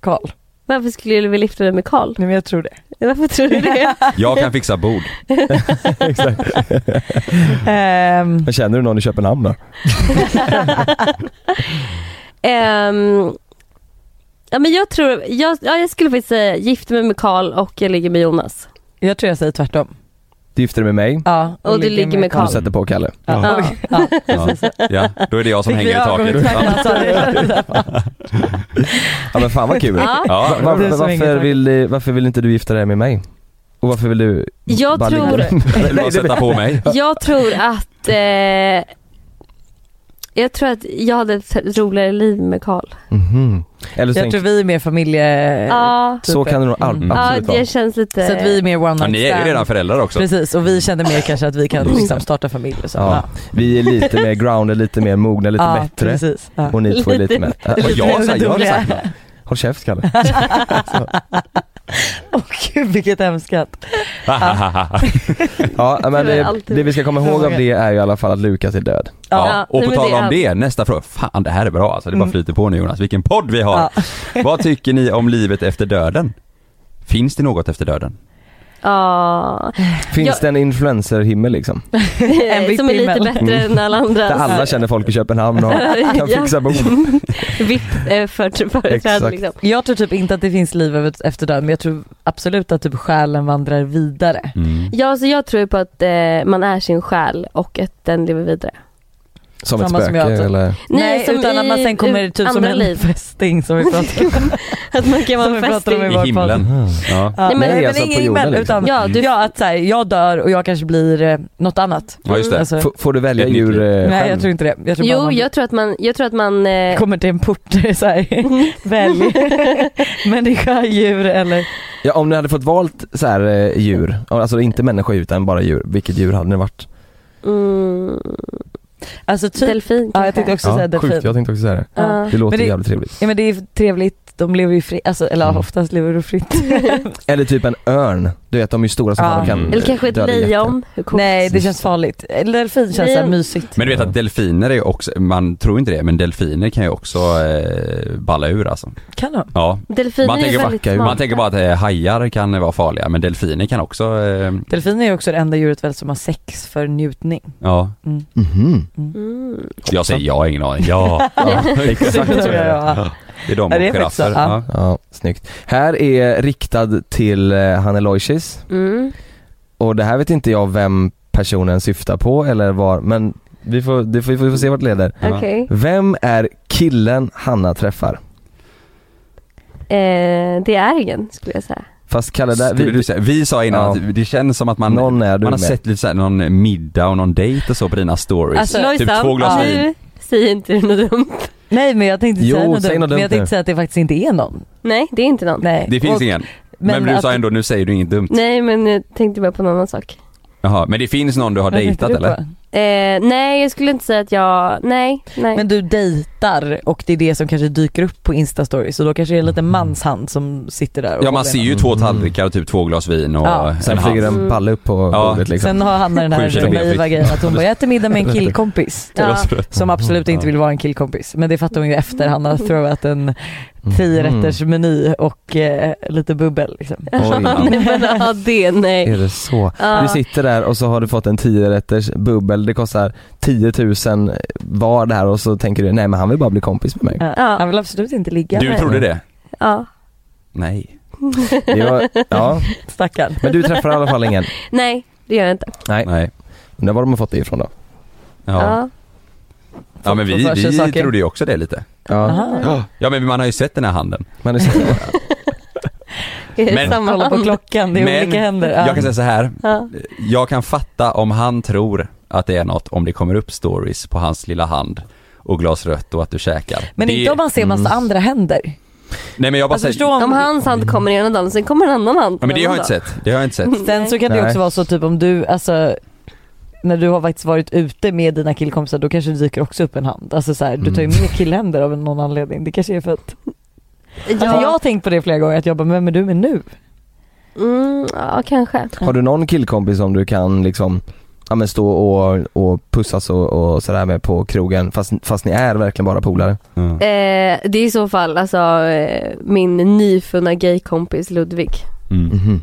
S5: Karl.
S2: Varför skulle du vilja gifta dig med Karl?
S5: Nej men jag tror det.
S2: Varför tror du det?
S4: Jag kan fixa bord.
S5: Ehm,
S3: Men känner du någon i Köpenhamn då?
S2: Ehm, ja, men jag tror, jag, ja, jag skulle faktiskt säga gifta mig med Karl och jag ligger med Jonas.
S5: jag tror jag säger tvärtom.
S3: Du gifter dig med mig
S5: Ja,
S2: Och du ligger med
S3: och du
S2: Karl.
S3: sätter på Kalle.
S5: Ja.
S2: Ja.
S5: Ja.
S4: Ja. ja, då är det jag som
S5: Fick vi
S4: hänger i taket.
S5: ögonkontakt när han sa det?
S3: Ja men fan vad kul.
S2: Ja.
S3: Va-
S4: Ja,
S3: va-
S5: Det är så inget
S3: varför,
S5: tack.
S3: vill, du- varför vill inte du gifta dig med mig? Och varför vill du
S2: Jag
S3: bara ligga
S2: tror-
S3: med mig?
S4: Eller bara sätta på mig.
S2: Jag tror att eh, jag tror att jag hade ett roligare liv med Karl.
S3: Mhm. Eller så
S5: Jag
S3: tänker,
S5: tror vi är mer familje...
S4: Eh,
S2: Ja,
S3: så kan det nog all-
S5: Mm.
S2: ja
S3: absolut vara.
S2: det känns lite...
S5: Så att vi är mer one night
S4: Ja, ni är ju
S5: stand.
S4: redan Mm. föräldrar också.
S5: Precis, och vi kände mer kanske att vi kan liksom starta familj och så.
S3: Ja, Vi är lite mer grounded, lite mer mogna, lite
S5: Ja,
S3: bättre.
S5: Precis. Ja.
S3: Och ni två är lite mer...
S4: Vad jag, sa- jag hade sagt
S3: Håll käft Kalle.
S5: Åh gud vilket hemskt
S3: Ja men
S2: Det är
S3: det,
S2: alltid-
S3: det vi ska komma ihåg av det är ju i alla fall att Lukas är död.
S4: Ja.
S2: Ja,
S4: Och på
S2: nej, men
S4: tal
S2: det
S4: om
S2: är-
S4: det, nästa fråga. Fan det här är bra alltså, det bara
S5: Mm.
S4: flyter på nu Jonas. Vilken podd vi har! Vad tycker ni om livet efter döden? Finns det något efter döden?
S2: Ja,
S3: Finns
S2: Ja.
S3: det en influencerhimmel liksom?
S2: Eh, som är lite
S5: VIP-himmel.
S2: bättre än alla andra.
S3: Där alla känner folk i Köpenhamn och kan
S2: Ja.
S3: fixa bord.
S2: VIP-företräde
S3: Exakt.
S2: liksom.
S5: Jag tror typ inte att det finns liv över- efter döden men jag tror absolut att typ själen vandrar vidare.
S2: Ja, så jag tror ju på att eh, man är sin själ och att den lever vidare.
S3: Som ett
S5: Samma som
S3: spöke
S5: jag typ. tror.
S3: eller?
S5: Nej,
S2: som
S5: utan att
S2: i
S5: man sen kommer typ som
S2: andra
S5: en
S2: liv.
S5: fästing som vi pratade om.
S2: Att man kan vara
S5: Som vi
S2: en
S5: pratade om
S2: fästing.
S5: i- var
S4: I himlen? Ja.
S5: Ja,
S2: Nej, men-
S3: Nej, alltså på jorden,
S5: himmel,
S3: liksom.
S5: utan
S2: Ja, du-
S5: ja, att så här, jag dör och jag kanske blir eh, något annat.
S4: ja, just det.
S5: Alltså,
S3: F- får du välja
S4: Ett nytt
S3: djur
S4: liv.
S3: eh,
S5: nej jag
S3: själv?
S5: tror inte det. Jag tror bara
S2: Jo,
S5: man
S2: jag tror att man, jag tror att man eh,
S5: kommer till en port där det är så här, välj människa, djur eller
S3: Ja, om ni hade fått valt så här eh, djur, alltså inte människa utan bara djur, vilket djur hade ni varit?
S2: mm,
S5: alltså typ.
S2: delfin
S5: ja jag
S2: kanske.
S5: tänkte också säga delfin.
S3: sjukt, jag tänkte också säga det.
S2: Ja.
S3: Det låter
S5: Men det-
S3: jävligt trevligt.
S5: Ja men det är ju trevligt, de lever ju fritt, alltså, eller
S3: Mm.
S5: mm. oftast lever de fritt.
S2: Alltså,
S3: Eller typ en örn, du vet de är ju stora som
S5: Ja.
S3: fan och kan
S2: Eller kanske ett
S3: döda jätter.
S2: lejon. Hur coolt?
S5: Nej det känns farligt. Eller Delfin känns såhär
S2: Nej.
S5: mysigt.
S4: Men du vet att delfiner är också, man tror inte det, men delfiner kan ju också eh, balla ur alltså.
S5: Kan de?
S4: Ja.
S2: Delfiner
S4: Man
S2: är ju
S4: tänker
S2: väldigt
S3: backa ur.
S2: smarta.
S4: Man tänker bara att eh, hajar kan vara farliga, men delfiner kan också, eh,
S5: Delfiner är ju också det enda djuret väl som har sex för njutning.
S4: ja.
S3: Mhm.
S2: Mm.
S4: Jag säger ja, ingen aning. Ja.
S3: Ja, exakt så är det.
S5: Ja.
S4: Det är de
S5: Ja, det är
S4: och
S5: faktiskt så.
S4: giraffer. Ja.
S3: Ja, snyggt. Här är riktad till eh, han Aloysius
S2: Mm.
S3: och det här vet inte jag vem personen syftar på eller var, men vi får, det får, vi får se vart det leder.
S4: Ja.
S2: Okej.
S3: Vem är killen Hanna träffar?
S2: Eh, det är ingen skulle jag säga.
S3: Fast Kalle, där,
S4: Skulle
S3: vi,
S4: du säga, vi sa innan
S3: Ja.
S4: att det känns som att man,
S3: någon är du
S4: man har
S3: med.
S4: sett lite såhär någon middag och någon dejt och så på dina stories.
S5: Alltså,
S4: typ två glas
S5: ja.
S4: vin.
S2: nu säger inte du något dumt.
S5: Nej men jag tänkte inte
S3: Jo,
S5: säga något
S3: säg
S5: dumt, men
S3: något dumt
S5: jag
S3: nu.
S5: tänkte säga att det faktiskt inte är någon.
S2: Nej, det är inte någon.
S5: Nej.
S4: Det finns
S5: Och-
S4: ingen. Men, du
S5: att-
S4: sa ändå, nu säger du inget dumt.
S2: Nej, men jag tänkte bara på en annan sak.
S4: Jaha, men det finns någon du har
S5: Vad tänkte
S4: dejtat
S5: du
S4: eller?
S5: på?
S2: Eh, nej, jag skulle inte säga att jag... Nej, nej.
S5: Men du dejtar och det är det som kanske dyker upp på instastories så då kanske det är en liten mans hand som sitter där och
S4: Mm. Ja man
S5: håller
S4: ser ju
S3: Mm.
S4: två tallrikar och typ två glas vin och
S5: Ja.
S3: Sen
S4: en
S3: flyger
S4: hand.
S3: en balle upp på
S4: Ja.
S3: bordet
S5: den.
S3: liksom.
S5: Sen har Hanna den här
S4: Sju kilo
S5: naiva
S4: benvikt.
S5: grejen att hon bara jag äter middag med en killkompis.
S2: ja.
S5: Som absolut inte vill vara en killkompis. Men det fattar hon ju efter han har throwat en
S4: Mm.
S3: Mm.
S5: tio rätters meny och eh, lite bubbel liksom.
S3: Mm. Oj.
S2: nej, men ja, det nej.
S3: Är det så?
S2: Ja.
S3: Du sitter där och så har du fått en 10-rätters bubbel, det kostar 10 000 var där och så tänker du nej men han vill bara bli kompis med mig.
S5: Ja.
S2: Ja.
S5: Han vill absolut inte ligga
S4: Du
S5: med
S4: trodde det?
S2: Ja.
S4: Nej.
S3: Det var, ja.
S5: stackarn.
S3: Men du träffar i alla fall ingen?
S2: Nej, det gör jag inte.
S3: Nej.
S4: Nej.
S3: Undrar var de har fått det ifrån då?
S4: Ja. ja.
S2: Ja.
S4: men
S5: Folk får
S4: vi,
S5: för sig
S4: vi
S5: saker.
S4: trodde ju också det lite.
S3: Ja.
S5: Aha.
S4: Ja men man har ju sett den här handen.
S3: Men det är så,
S2: Är det
S4: Men-
S2: samma
S5: Kolla på
S2: hand?
S5: klockan, det är
S4: Men-
S5: olika händer. Ja.
S4: Jag kan säga så här.
S2: Ja.
S4: jag kan fatta om han tror att det är något om det kommer upp stories på hans lilla hand och glas rött och att du käkar.
S5: Men
S4: det...
S5: inte om man ser massa andra händer.
S4: Nej men jag bara
S5: Alltså,
S4: säger...
S5: förstå om...
S2: Om hans hand kommer ena dagen, sen kommer en annan hand.
S4: Ja, men det har jag inte
S2: en annan
S4: sett. Det har jag inte sett.
S2: dag.
S5: Sen så kan det ju
S3: Nej.
S5: också vara så typ om du, alltså när du har faktiskt varit ute med dina killkompisar då kanske det dyker också upp en hand. Alltså så här, du tar ju
S3: Mm.
S5: med killhänder av någon anledning. Det kanske är för att... Alltså, jag har tänkt på det flera gånger att jag bara, men vem är du med nu?
S2: Mm, ja, kanske.
S3: har du någon killkompis som du kan liksom Ja men stå och, och pussas och, och sådär med på krogen fast, fast ni är verkligen bara polare?
S4: Mm.
S2: Eh, det är i så fall alltså eh, min nyfunna gaykompis Ludvig.
S4: Mm.
S3: Mhm.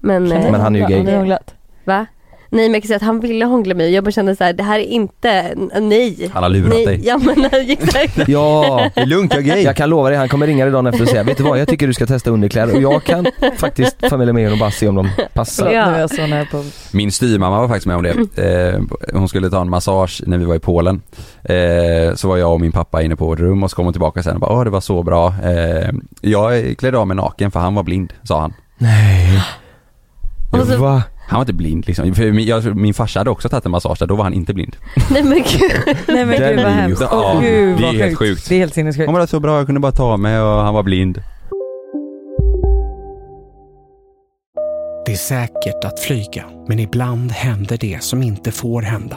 S2: Men, eh,
S3: Men han är ju gay.
S5: Har ni hånglat?
S2: va? Nej men jag kan säga att han ville hångla mig jag bara kände så här, det här är inte, n- nej.
S4: Han har lurat
S2: nej.
S4: dig.
S2: Ja men exakt.
S3: Ja!
S4: Det är lugnt, jag är gay.
S3: Jag kan lova dig, han kommer ringa dig dagen efter och säga vet du vad, jag tycker du ska testa underkläder och jag kan faktiskt familjen med och bara se om de passar.
S5: Förlåt,
S2: Ja.
S5: nu är jag så nära på...
S4: Min styrmamma var faktiskt med om det. Eh, hon skulle ta en massage när vi var i Polen. Eh, så var jag och min pappa inne på vårt rum och så kom hon tillbaka sen och bara åh det var så bra. Eh, jag klädde av mig naken för han var blind, sa han.
S3: Nej.
S2: Och så-
S3: Va?
S4: Han var inte blind liksom. För min, jag, min farsa hade också tagit en massage där, då var han inte blind.
S2: Nej men gud.
S5: Nej men gud
S3: Den
S5: vad
S3: är ju-
S5: hemskt.
S4: Ja,
S5: Åh, gud,
S4: det är
S5: vad
S4: helt sjukt.
S5: Det är helt
S4: Han
S5: sinnessjukt.
S4: var så bra, jag kunde bara ta mig och han var blind.
S6: Det är säkert att flyga, men ibland händer det som inte får hända.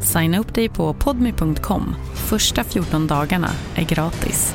S7: Signa upp dig på podmi.com. Första 14 dagarna är gratis.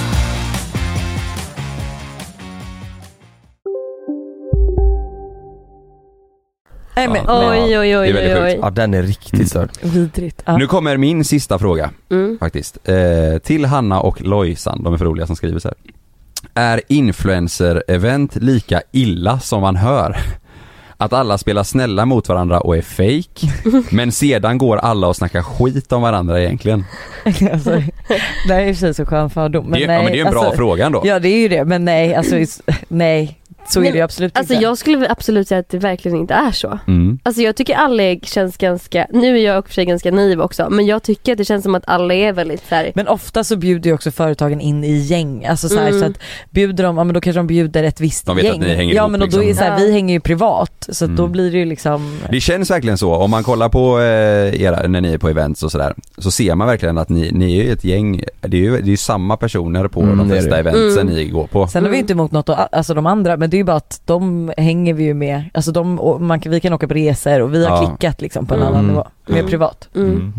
S5: Nej, men,
S2: Ja,
S5: men-
S2: oj, oj, oj,
S4: Det är väldigt
S2: oj,
S4: sjukt.
S2: oj.
S3: Ja den är riktigt störd.
S5: Vidrigt. Ja.
S4: Nu kommer min sista fråga
S2: Mm.
S4: faktiskt. Eh, till Hanna och Lojsan, de är för roliga som skriver så här. Är influencer-event lika illa som man hör? Att alla spelar snälla mot varandra och är fake men sedan går alla och snackar skit om varandra egentligen.
S5: alltså, det här är i och för sig så skön fördom. Men
S4: det, är-
S5: nej,
S4: ja, men det är ju en bra
S5: alltså,
S4: fråga ändå.
S5: Ja det är ju det, men nej alltså is- nej. Så är
S2: Nej,
S5: det ju absolut
S2: Alltså
S5: inte.
S2: jag skulle absolut säga att det verkligen inte är så.
S4: Mm.
S2: Alltså jag tycker alla är- känns ganska, nu är jag i och för sig ganska naiv också, men jag tycker att det känns som att alla är väldigt såhär,
S5: Men ofta så bjuder ju också företagen in i gäng, alltså så, här,
S2: Mm.
S5: så att bjuder de, ja men då kanske de bjuder ett visst
S4: De vet att
S5: gäng.
S4: ni hänger
S5: ja
S4: ihop,
S5: men och då är det
S4: liksom.
S5: så här,
S2: Ja.
S5: vi hänger ju privat så att då
S4: Mm.
S5: blir det ju liksom
S4: Det känns verkligen så, om man kollar på eh, era, när ni är på events och sådär, så ser man verkligen att ni, ni är ju ett gäng, det är ju det är ju samma personer på
S3: Mm,
S4: de
S3: det är
S4: flesta
S3: det.
S4: eventsen
S2: Mm.
S4: ni går på.
S5: Sen har vi inte emot något, av- alltså de andra, men det är ju bara att de hänger vi ju med, alltså de, och man, kan- vi kan åka på resor och vi har
S4: Ja.
S5: klickat liksom på en
S2: Mm.
S5: annan nivå, mer
S2: Mm.
S5: privat.
S2: mm,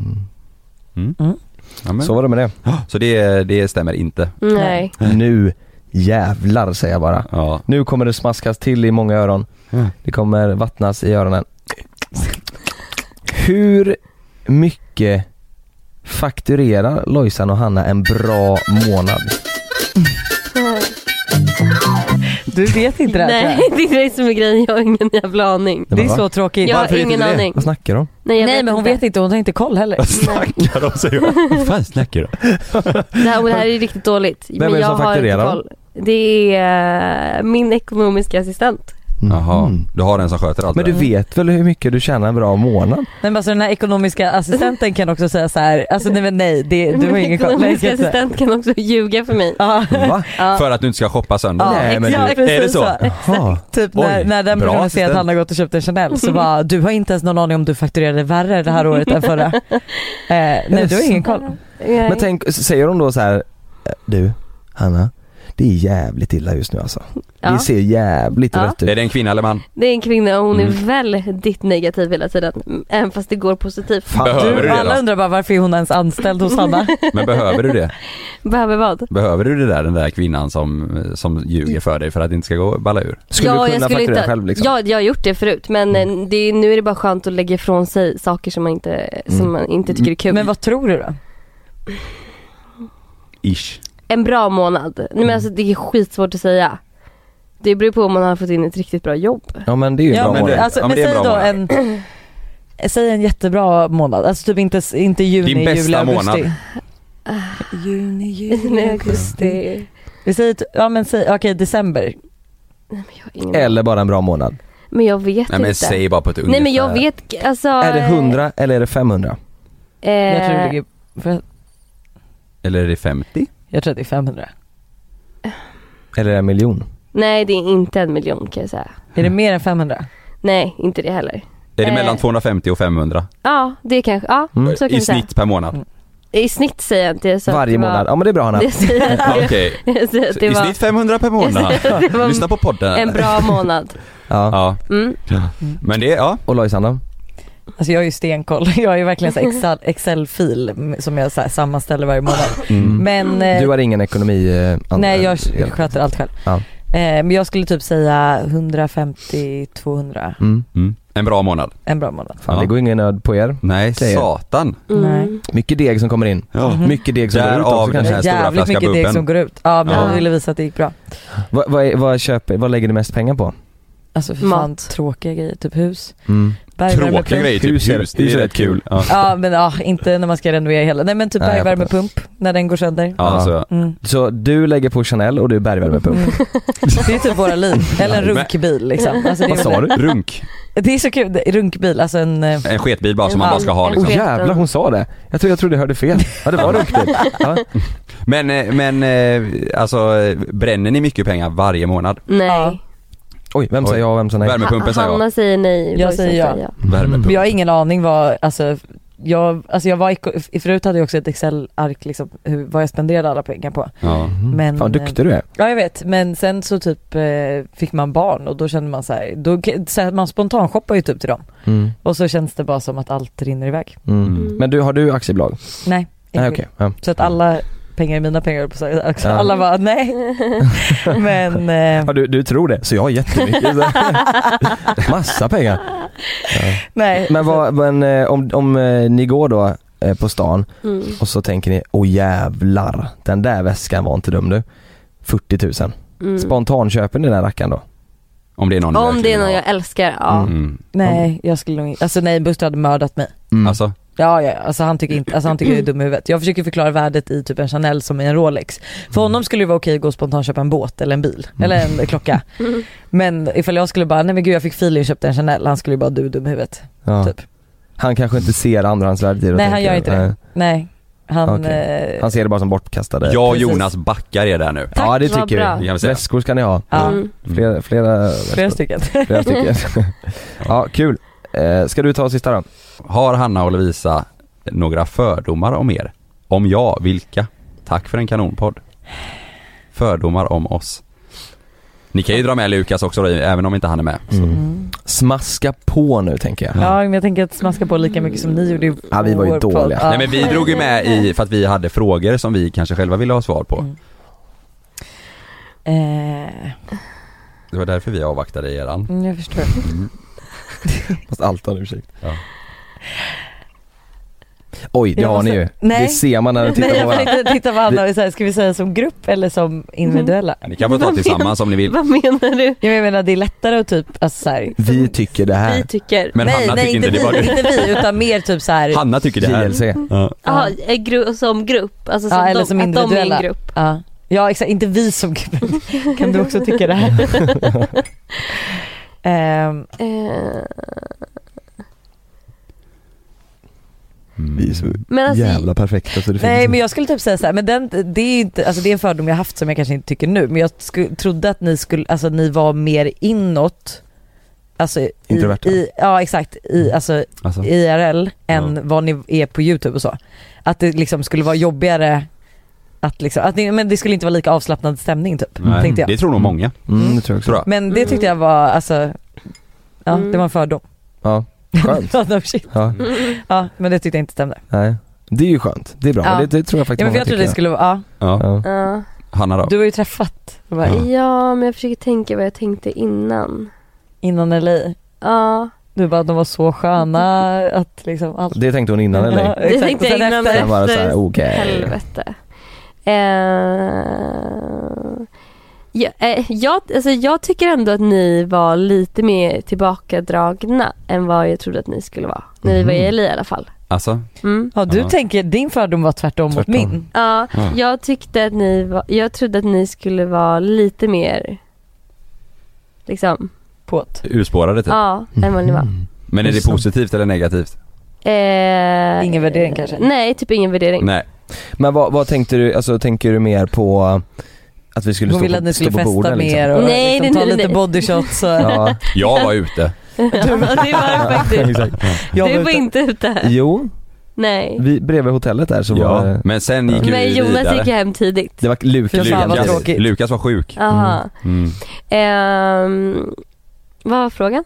S4: Ja, men.
S3: Så var det med det.
S4: Så det, det stämmer inte.
S2: nej.
S3: Nu jävlar säger jag bara.
S4: Ja.
S3: Nu kommer det smaskas till i många öron.
S4: Mm.
S3: Det kommer vattnas i öronen. Hur mycket fakturerar Lojsan och Hanna en bra månad?
S5: Du vet inte det här tror
S2: Nej,
S5: jag.
S2: det är det som är grejen, jag har ingen jävla aning.
S3: Det
S5: Det
S3: var
S5: är
S3: va?
S5: så tråkigt.
S2: Jag
S4: Varför
S2: har
S4: vet
S2: ingen
S4: du det?
S2: aning.
S3: Vad snackar de?
S2: Nej, jag
S5: Nej men hon vet inte, hon har inte koll heller.
S4: Vad snackar de säger jag? Vad fan snackar de?
S2: Det här, och det här är riktigt dåligt.
S3: är
S2: men
S3: det
S2: jag
S3: som
S2: har inte
S3: fakturerar?
S2: koll. Det är eh, min ekonomiska assistent.
S4: Jaha,
S3: Mm.
S4: du har den som sköter allt
S3: Men
S4: det
S3: du vet väl hur mycket du tjänar en bra månad?
S5: Nej men alltså den här ekonomiska assistenten kan också säga så här, alltså nej men nej, det, du har
S2: min
S5: ingen koll. Nej, jag
S2: ekonomiska
S5: ska inte säga.
S2: assistent kan också ljuga för mig.
S5: Ja.
S3: Va?
S2: Ja.
S4: För att du inte ska shoppa sönder
S5: Ja,
S3: Nej, men
S5: exakt,
S3: du-
S5: precis
S4: är det så?
S3: Jaha.
S5: Typ
S4: Oj,
S5: när, när den
S4: bra
S5: personen ser att
S4: assistent.
S5: han har gått och köpt en Chanel så bara, du har inte ens någon aning om du fakturerade värre det här året än förra. Eh, nej du har ingen koll.
S2: Nej.
S3: Men tänk, säger de då så här, "Eh, du Hanna, det är jävligt illa just nu alltså.
S2: ja.
S3: Det ser jävligt
S2: Ja.
S3: rött
S4: Är
S3: ut.
S4: det en kvinna eller man?
S2: Det är en kvinna och hon
S4: Mm.
S2: är väldigt negativ hela tiden. Även fast det går positivt.
S4: Behöver
S5: Du,
S4: du det
S5: alla
S4: då?
S5: undrar bara varför är hon ens anställd hos Hanna?
S4: Men behöver du det?
S2: Behöver vad?
S4: Behöver du det där, den där kvinnan som, som ljuger för dig för att det inte ska gå och balla ur?
S3: Skulle du kunna fakturera själv liksom? Mm.
S2: Ja, jag har gjort det förut men eh, det, är- nu är det bara skönt att lägga ifrån sig saker som man inte, som
S3: Mm.
S2: man inte tycker är kul.
S5: Men vad tror du då?
S4: Ish.
S2: En bra månad. Nej, men alltså, det är skitsvårt att säga. Det beror på om man har fått in ett riktigt bra jobb.
S3: Ja men det är ju en bra
S5: Ja, men,
S3: månad.
S5: alltså,
S4: Ja,
S5: men
S4: men det är
S5: säg
S4: en
S5: då
S4: bra
S5: en, säg en jättebra månad, alltså typ inte, inte juni,
S4: Din bästa
S5: juli, augusti.
S4: månad.
S5: Juni,
S2: Nej,
S5: juli, augusti.
S2: augusti.
S5: Vi säger, t- ja men säg, okej december.
S2: Nej, men, jag har ingen...
S3: Eller bara en bra månad.
S2: men jag vet
S4: Nej men
S2: inte.
S4: säg bara på ett ungefär.
S2: Nej men jag vet alltså.
S3: Är det 100 eller är det 500?
S2: Eh,
S5: Jag tror det ligger, för,
S4: Eller är det 50?
S5: jag tror att det är 500.
S3: Eller är det en miljon?
S2: Nej det är inte en miljon kan jag säga.
S5: Är det
S3: Mm.
S5: mer än 500?
S2: Nej inte det heller.
S4: Är det
S2: Eh.
S4: mellan 250 och 500?
S2: Ja det kanske, ja så kan
S4: Mm. I
S2: vi säga.
S4: snitt per månad?
S2: I snitt säger jag inte det. Så att
S3: Varje
S2: det var-
S3: månad. Ja men det är bra Hanna.
S2: Jag säger att det- jag säger att det
S4: I
S2: var
S4: snitt 500 per månad.
S2: Jag säger att det var
S4: Lyssna på podden.
S2: en bra månad.
S3: Ja.
S2: Mm.
S4: Men det, ja.
S3: Och Lojsan då?
S5: Alltså jag är ju stenkoll, jag är ju verkligen så här Excel- Excel-fil som jag så här sammanställer varje månad. Men, eh,
S3: du har ingen ekonomi? Eh, an-
S5: Nej jag
S3: eh,
S5: sköter allt själv.
S3: Ja.
S5: Eh, men jag skulle typ säga 150-200,
S3: Mm.
S4: En bra månad.
S5: en bra månad.
S3: Fan det går ingen nöd på er.
S4: Nej,
S3: säger jag.
S4: satan.
S5: Nej.
S3: Mycket deg som kommer in.
S4: Ja.
S3: Mycket deg som går ut
S4: Därav
S3: också kanske.
S4: den här stora
S5: Jävligt
S4: flaskan
S5: mycket deg
S4: bubbel.
S5: som går ut. Ja men
S3: Ja.
S5: jag ville visa att det gick bra.
S3: Vad, vad, är- vad, köper, vad lägger du mest pengar på?
S5: Alltså för fan tråkiga grejer, typ hus.
S3: Mm.
S5: Bergvärmepump.
S4: Tråkiga grejer, typ hus,
S3: Hus är-
S4: det
S3: hus
S4: är
S3: är
S4: rätt kul. Ja.
S5: Ja men ja, inte när man ska renovera hela. Nej men typ
S3: Nej, jag fattar.
S5: bergvärmepump när den går sönder.
S3: Ja.
S4: så.
S5: Mm.
S3: Så du lägger på Chanel och du bergvärmepump.
S5: Det är typ våra liv. Eller en
S3: Nej, men-
S5: runkbil liksom. Alltså, det är
S3: Vad sa
S5: väl-
S3: du?
S4: Runk.
S5: Det är så kul, Det är runkbil, alltså en... eh,
S4: En sketbil bara som man bara ska ha liksom.
S3: Oh, jävlar hon sa det. Jag tror jag trodde jag hörde fel. Ja det var runkbil. Ja.
S4: Men, eh, men eh, alltså eh, bränner ni mycket pengar varje månad?
S2: Nej.
S3: Oj, vem sa ja och vem sa nej? Mm.
S4: Värmepumpen säger jag.
S2: Hanna säger nej.
S5: Jag
S2: Lojsan
S5: säger ja.
S4: Värmepump.
S5: Men jag har ingen aning vad, alltså jag, alltså jag var, eko- förut hade jag också ett Excel-ark liksom, hur, vad jag spenderade alla pengar på.
S4: Ja.
S5: Men, eh,
S3: Fan duktig du är.
S5: Ja jag vet, men sen så typ eh, fick man barn och då kände man så här, då, så här man spontanshoppar ju typ till dem.
S3: Mm.
S5: Och så känns det bara som att allt rinner iväg.
S3: Mm. Men du, har du aktiebolag?
S5: Nej,
S3: Nej
S5: enskild.
S3: okej. Ja.
S5: Så att alla pengar är mina pengar höll jag på att säga. också.
S3: Ja.
S5: Alla bara nej. men eh,
S3: Ja, du, du tror det, så jag har jättemycket. Massa pengar. Ja.
S5: nej.
S3: Men, vad, men eh, om, om eh, ni går då eh, på stan
S5: Mm.
S3: och så tänker ni, åh jävlar, den där väskan var inte dum du. 40 000.
S2: Mm.
S3: Spontant köper ni den här rackaren då?
S4: Om det är någon
S2: Om det är någon jag älskar, ja.
S4: Mm.
S5: Nej jag skulle nog inte, alltså nej Buster hade mördat mig.
S4: Alltså,
S5: Ja, ja, alltså han tycker inte, alltså han tycker jag är dum i huvudet. Jag försöker förklara värdet i typ en Chanel som i en Rolex. För honom skulle det vara okej att gå och spontant köpa en båt eller en bil,
S3: Mm.
S5: eller en klocka. Men ifall jag skulle bara, nej men gud jag fick feeling och köpte en Chanel, han skulle ju bara du är dum i huvudet.
S3: Ja.
S5: Typ.
S3: Han kanske inte ser andrahandsvärdet i det och
S5: Nej han
S3: tänker,
S5: gör inte det.
S3: nej.
S5: Nej. Han,
S3: Okej.
S5: eh,
S3: Han ser det bara som bortkastade.
S4: jag och
S5: Precis.
S4: Jonas backar er där nu.
S3: ja Mm. det
S2: vad bra.
S3: tycker
S4: Det
S3: vi.
S4: kan vi säga. Mm.
S3: Väskor ska ni ha.
S5: ja,
S3: Flera, flera,
S5: flera stycken.
S3: flera stycken. ja kul. Eh, ska du ta sista då?
S4: Har Hanna och Lovisa några fördomar om er? Om ja, vilka? Tack för en kanonpodd. Fördomar om oss. Ni kan ju dra med Lukas också då, även om inte han är med.
S3: Mm.
S4: Så.
S5: Mm.
S3: Smaska på nu tänker jag.
S5: Ja men jag tänker att smaska på lika mycket som ni gjorde i
S3: Ja, vi var ju
S5: vår podd.
S3: dåliga.
S5: Ja.
S4: Nej men vi drog ju med i, för att vi hade frågor som vi kanske själva ville ha svar
S5: Mm.
S4: på.
S5: Eh,
S4: Det var därför vi avvaktade eran.
S5: mm, jag förstår.
S3: Fast allt har en ursäkt.
S4: Ja.
S3: Oj, det
S5: Jag
S3: har ni
S5: måste-
S3: ju.
S5: Nej.
S3: Det ser man när ni tittar
S5: Nej
S3: på
S5: jag
S3: varandra.
S5: tänkte titta på Anna och säga, ska vi säga som grupp eller som individuella?
S4: Ni kan få ta tillsammans om ni vill.
S2: Vad menar du?
S5: Ja, men Jag menar det är lättare att typ, alltså så här,
S3: Vi tycker det
S2: Vi
S3: här.
S2: tycker...
S4: Men
S5: nej,
S4: Hanna
S5: nej
S4: tycker inte
S5: vi,
S4: det var
S5: inte vi utan mer typ så här.
S4: Hanna tycker det här.
S3: JLC.
S4: Ja.
S2: Jaha, eh, gru- som grupp? Alltså som
S5: ja, eller
S2: de,
S5: som
S2: att de är en
S5: individuella.
S2: grupp?
S5: Ja. ja exakt, inte vi som grupp. kan du också tycka det här? Ehm,
S2: Eh,
S4: Mm.
S3: Vi är så
S2: Men alltså- jävla
S3: perfekta så det
S5: nej men jag skulle typ säga så här, men den, det, är ju inte, alltså det är en fördom jag haft som jag kanske inte tycker nu men jag sku, trodde att ni, skulle, alltså, ni var mer inåt Alltså i,
S3: Introverta.
S5: i, ja exakt, i, alltså,
S4: Alltså.
S5: IRL än
S4: Ja.
S5: vad ni är på youtube och så. Att det liksom skulle vara jobbigare att liksom, att ni, men det skulle inte vara lika avslappnad stämning typ,
S4: Nej,
S5: tänkte jag.
S4: det tror nog många.
S3: Mm, det tror jag också.
S4: Tror jag.
S5: Men det tyckte jag var, alltså, ja
S2: Mm.
S5: det var en fördom.
S3: Ja, skönt.
S5: Ja, no shit.
S3: Ja,
S5: ja men det tyckte jag inte stämde.
S3: nej. Det är ju skönt, det är bra.
S5: Ja.
S3: Det, det tror
S5: Ja,
S3: jag faktiskt
S5: men för jag trodde det skulle vara, ja,
S4: Ja.
S3: Ja.
S2: ja.
S4: Hanna då?
S5: du har ju träffat de här
S4: Ja.
S2: ja, men jag försöker tänka vad jag tänkte innan.
S5: innan LA.
S2: Ja,
S5: Du bara de var så sköna att liksom allt.
S3: Det tänkte hon innan
S5: Ja,
S3: eller?
S2: det
S5: exakt.
S2: tänkte
S5: Och
S2: jag
S5: sen
S2: innan.
S5: efter-
S3: Sen bara så här,
S2: efter-
S3: okej.
S2: Helvete. Eh, ja, eh, jag, alltså jag tycker ändå att ni var lite mer tillbakadragna än vad jag trodde att ni skulle vara. När vi var
S4: Mhm.
S2: i LA i alla fall.
S4: Alltså,
S2: Mm.
S5: Ja du
S4: Ja.
S5: tänker, din fördom var tvärtom,
S3: Tvärtom.
S5: mot min.
S2: Ja,
S4: Ja.
S2: jag tyckte att ni var, jag trodde att ni skulle vara lite mer liksom,
S5: Påt.
S4: urspårade typ.
S2: ja, än vad ni var.
S4: Men är det
S3: Just det.
S4: positivt eller negativt?
S2: Eh,
S5: Ingen värdering kanske?
S2: Nej, typ ingen värdering.
S4: Nej.
S3: Men vad, vad tänkte du, alltså tänker du mer på att vi skulle
S5: Hon
S3: stå
S5: ville
S3: på,
S5: att ni
S3: stå
S5: skulle
S3: på
S5: festa
S3: borden
S5: mer
S3: liksom?
S5: och
S2: Nej,
S5: liksom,
S2: nej,
S5: ta
S2: nej,
S5: lite
S2: nej.
S5: bodyshots och...
S3: Ja,
S4: Jag var ute.
S2: Ja, det var det faktiskt.
S3: exakt.
S5: Jag
S2: Du
S5: var
S2: var
S5: ute.
S2: inte ute.
S3: Jo,
S2: Nej.
S3: Vi, bredvid hotellet där så var
S4: Ja,
S3: det...
S4: men sen gick vi
S2: Men Jonas gick ju hem tidigt.
S3: Det var Lukas.
S2: Fy fan, vad
S4: Lukas,
S2: tråkigt.
S4: Lukas var sjuk.
S2: Aha.
S4: Mm.
S2: Ehm, vad var frågan?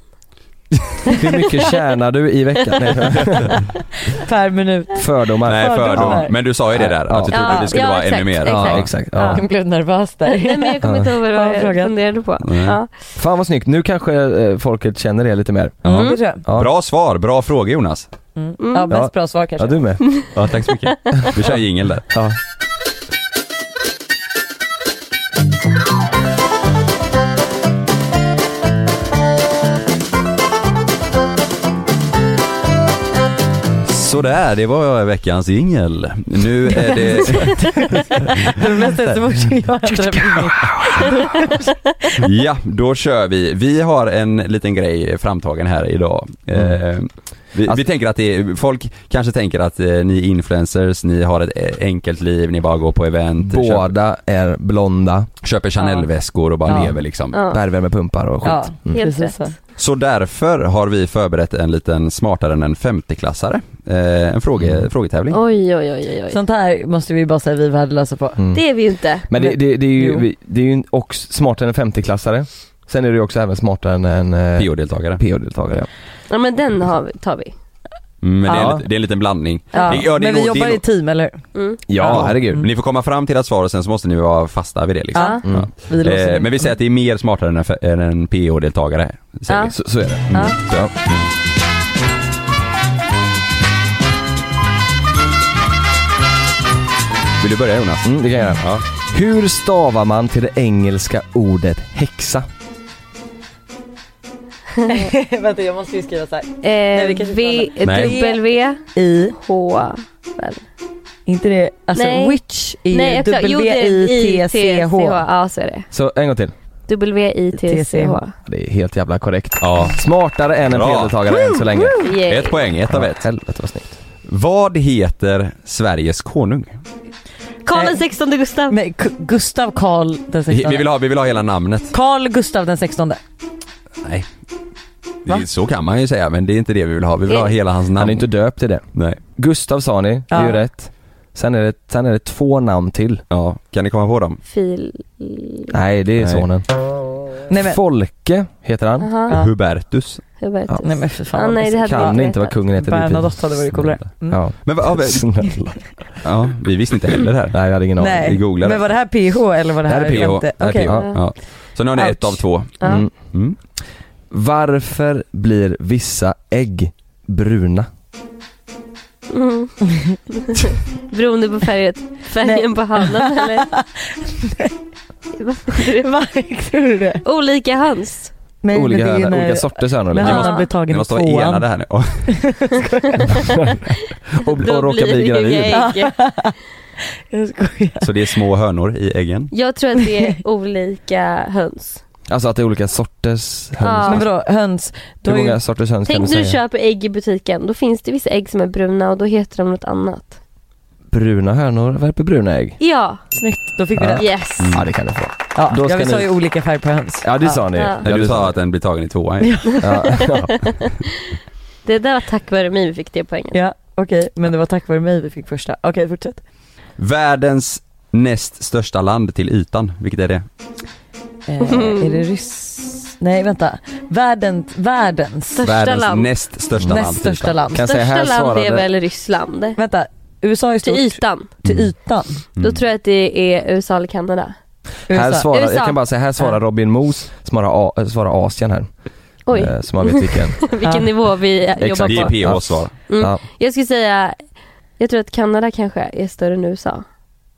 S3: Hur mycket tjänar du i veckan? Nej.
S5: Per minut.
S3: Fördomar.
S4: Nej fördomar.
S5: Fördomar.
S4: Men du sa ju det där, att du
S2: Ja.
S4: trodde det skulle
S2: Ja,
S4: vara
S2: exakt,
S4: ännu mer.
S2: exakt.
S3: Ja, exakt. Ja.
S5: Jag blev nervös där.
S2: Nej men jag kommer inte ihåg vad det var jag
S5: frågan?
S2: funderade på.
S3: Nej.
S2: Ja.
S3: Fan vad snyggt, nu kanske eh, folket känner det lite mer.
S4: Ja.
S2: Mm.
S5: Det tror jag.
S3: Ja.
S4: Bra svar, bra fråga Jonas.
S5: Ja, mest bra svar
S3: Ja
S5: kanske.
S3: du med.
S4: Ja, tack så mycket. Vi kör jingel där.
S3: Ja.
S4: Sådär, det var veckans jingel. Nu är det...
S5: Det mesta är så fort jag äter det.
S4: Ja, då kör vi. Vi har en liten grej framtagen här idag. Eh, vi,
S3: Alltså-
S4: vi tänker att det är, folk kanske tänker att eh, ni är influencers, ni har ett eh, enkelt liv, ni bara går på event. Köper,
S3: Båda är blonda.
S4: köper Chanel-väskor och bara
S3: Ja.
S4: lever liksom.
S2: Ja.
S3: Bergvärmepumpar och skit.
S5: Ja,
S2: Helt rätt.
S4: Så därför har vi förberett en liten smartare än en 50-klassare. Eh, en fråge,
S3: Mm.
S4: frågetävling.
S2: Oj, oj, oj, oj, oj.
S5: Sånt här måste vi bara säga vi är värdelösa på.
S3: Mm.
S2: Det är vi ju inte.
S3: Men det, det, det är ju,
S5: Jo.
S3: vi- det är ju en- också smartare än en 50-klassare. Sen är det ju också även smartare än en eh,
S4: PO-deltagare.
S3: PO-deltagare. ja.
S2: Ja men den har vi, tar vi.
S4: Mm, Men det, är
S3: Ja.
S4: en, lit- det är en liten blandning.
S5: Ja.
S4: Det- ja, det är
S5: men vi
S4: nog- det är
S5: jobbar i
S4: nog-
S5: team eller hur?
S2: Mm.
S3: Ja, herregud.
S4: Ni får komma fram till ett svar och sen så måste ni vara fasta vid det liksom.
S5: Ja.
S3: Mm.
S5: Vi låser
S4: Eh,
S5: in.
S4: men vi säger att det är mer smartare än en, fe- än en PO-deltagare. säger
S2: Ja.
S4: vi.
S3: Så, så är det.
S2: Ja.
S4: Mm.
S3: Ja.
S4: Vill du börja Jonas?
S3: Mm, det kan jag göra.
S4: Ja.
S3: Hur stavar man till det engelska ordet häxa?
S5: Vänta jag måste ju skriva så här.
S2: Eh,
S5: vi kanske
S2: v,
S5: inte
S4: Nej.
S2: W,
S5: I,
S2: H.
S5: inte det, alltså
S2: Nej.
S5: witch är ju
S2: Nej exakt, jo det är
S5: W-I-T-C-H.
S2: I-T-C-H. Ja så är det.
S3: Så en gång till.
S2: W-I-T-C-H.
S3: Det är helt jävla korrekt.
S4: Ja.
S3: Smartare än en
S4: Bra.
S3: PO-deltagare än så länge. Eh.
S2: Yay.
S4: Ett poäng, ett av
S3: Ja,
S4: ett.
S3: Helvete vad snyggt.
S4: Vad heter Sveriges konung?
S2: Karl den
S5: Nej.
S2: 16 Gustav.
S5: Men K- Gustav Karl den
S4: Vi
S5: 16.
S4: vi vill ha, vi vill ha hela namnet.
S5: Karl Gustav den 16.
S4: Nej. Det,
S5: Va?
S4: så kan man ju säga men det är inte det vi vill ha. Vi vill ha hela hans namn.
S3: Han är inte döpt till det.
S4: Nej.
S3: Gustav sa ni, det är ju
S5: Ja.
S3: rätt. Sen är, det, sen är det två namn till.
S4: Ja, kan ni komma på dem?
S2: Fil...
S3: Nej, det är
S4: Nej.
S3: sonen.
S5: Nej men,
S3: Folke heter han.
S2: Aha,
S4: Hubertus.
S2: jag vet
S3: Ja.
S2: inte.
S5: nej men för fan.
S2: Ah, nej, det hade vi
S3: Kan
S2: inte
S3: inte vad
S2: vetat.
S3: kungen heter. det är
S5: Bernadotte hade varit coolare.
S3: fint.
S5: Mm.
S3: Ja.
S4: Men vad- ja, vi-
S3: Snälla.
S4: ja, vi visste inte heller det här.
S3: Nej, jag hade ingen aning.
S5: Nej.
S4: Vi googlar det.
S5: Men var det här PH eller var det
S4: Det här
S5: här
S4: är PH. Det här är
S5: Okej.
S4: PH. Ja. Så nu har ni ett av
S5: Ouch.
S4: två.
S2: Ja.
S3: Mm.
S4: Mm.
S3: Varför blir vissa ägg bruna?
S2: Mm. Beroende på färgen, färgen på handen eller?
S5: Vad tror du det?
S2: Olika höns.
S5: Nej,
S3: olika,
S5: men det är ju
S3: hörnor,
S5: när,
S3: olika sorters hönor.
S5: när
S3: liksom.
S5: han har blivit
S4: Ni
S5: tagen i
S4: måste vara enade
S5: tvåan.
S4: här nu. Och,
S3: Och, och råkar bli gravid.
S2: gravid.
S5: Jag skojar.
S4: så det är små hönor i äggen.
S2: Jag tror att det är olika höns.
S3: Alltså att det är olika sorters höns.
S2: Ja.
S5: Men vadå höns? Då
S3: Hur
S5: är ju,
S3: många sorters höns kan
S2: Tänk
S3: du
S2: när du
S3: säga?
S2: köper ägg i butiken, då finns det vissa ägg som är bruna och då heter de något annat.
S3: Bruna hönor värper bruna ägg.
S2: Ja,
S5: snyggt, då fick vi
S3: Ja.
S5: det.
S2: yes.
S3: Ja det kan det få.
S5: Ja,
S3: Då ska
S5: jag sa
S3: ni-
S5: ju olika färg på höns.
S3: Ja det sa ni.
S2: Ja.
S4: När du
S3: det
S4: sa att
S3: ni.
S4: den blir tagen i tvåan.
S3: Ja, ja.
S2: Det där var tack vare mig vi fick det poängen.
S5: Ja, okej, men det var tack vare mig vi fick första. Okej, fortsätt.
S4: Världens näst största land till ytan, vilket är det?
S5: Eh, är det ryss? Nej, vänta. Världen, världens
S2: Största
S4: Världens
S2: land.
S4: näst största land typ.
S5: näst
S4: till
S5: största
S4: ytan.
S5: land.
S3: Kan jag säga
S2: Största
S3: här
S2: land är
S3: svarade...
S2: väl Ryssland.
S5: Vänta, USA är
S2: Till
S5: stort till,
S2: ytan.
S5: ytan.
S3: Mm.
S4: Mm.
S2: Då tror jag att det är USA eller Kanada.
S3: Här
S5: USA.
S3: svarar, jag
S2: USA.
S3: kan bara säga, här svarar
S5: Ja.
S3: Robin Moos, svarar, A, äh, svarar Asien här.
S2: Oj,
S3: Eh, Så man vet vilken.
S2: vilken
S5: ja.
S2: nivå vi jobbar
S3: Exakt.
S4: Det
S2: på.
S4: är PHs svar.
S2: Mm.
S3: Ja.
S2: Jag skulle säga, jag tror att Kanada kanske är större än USA.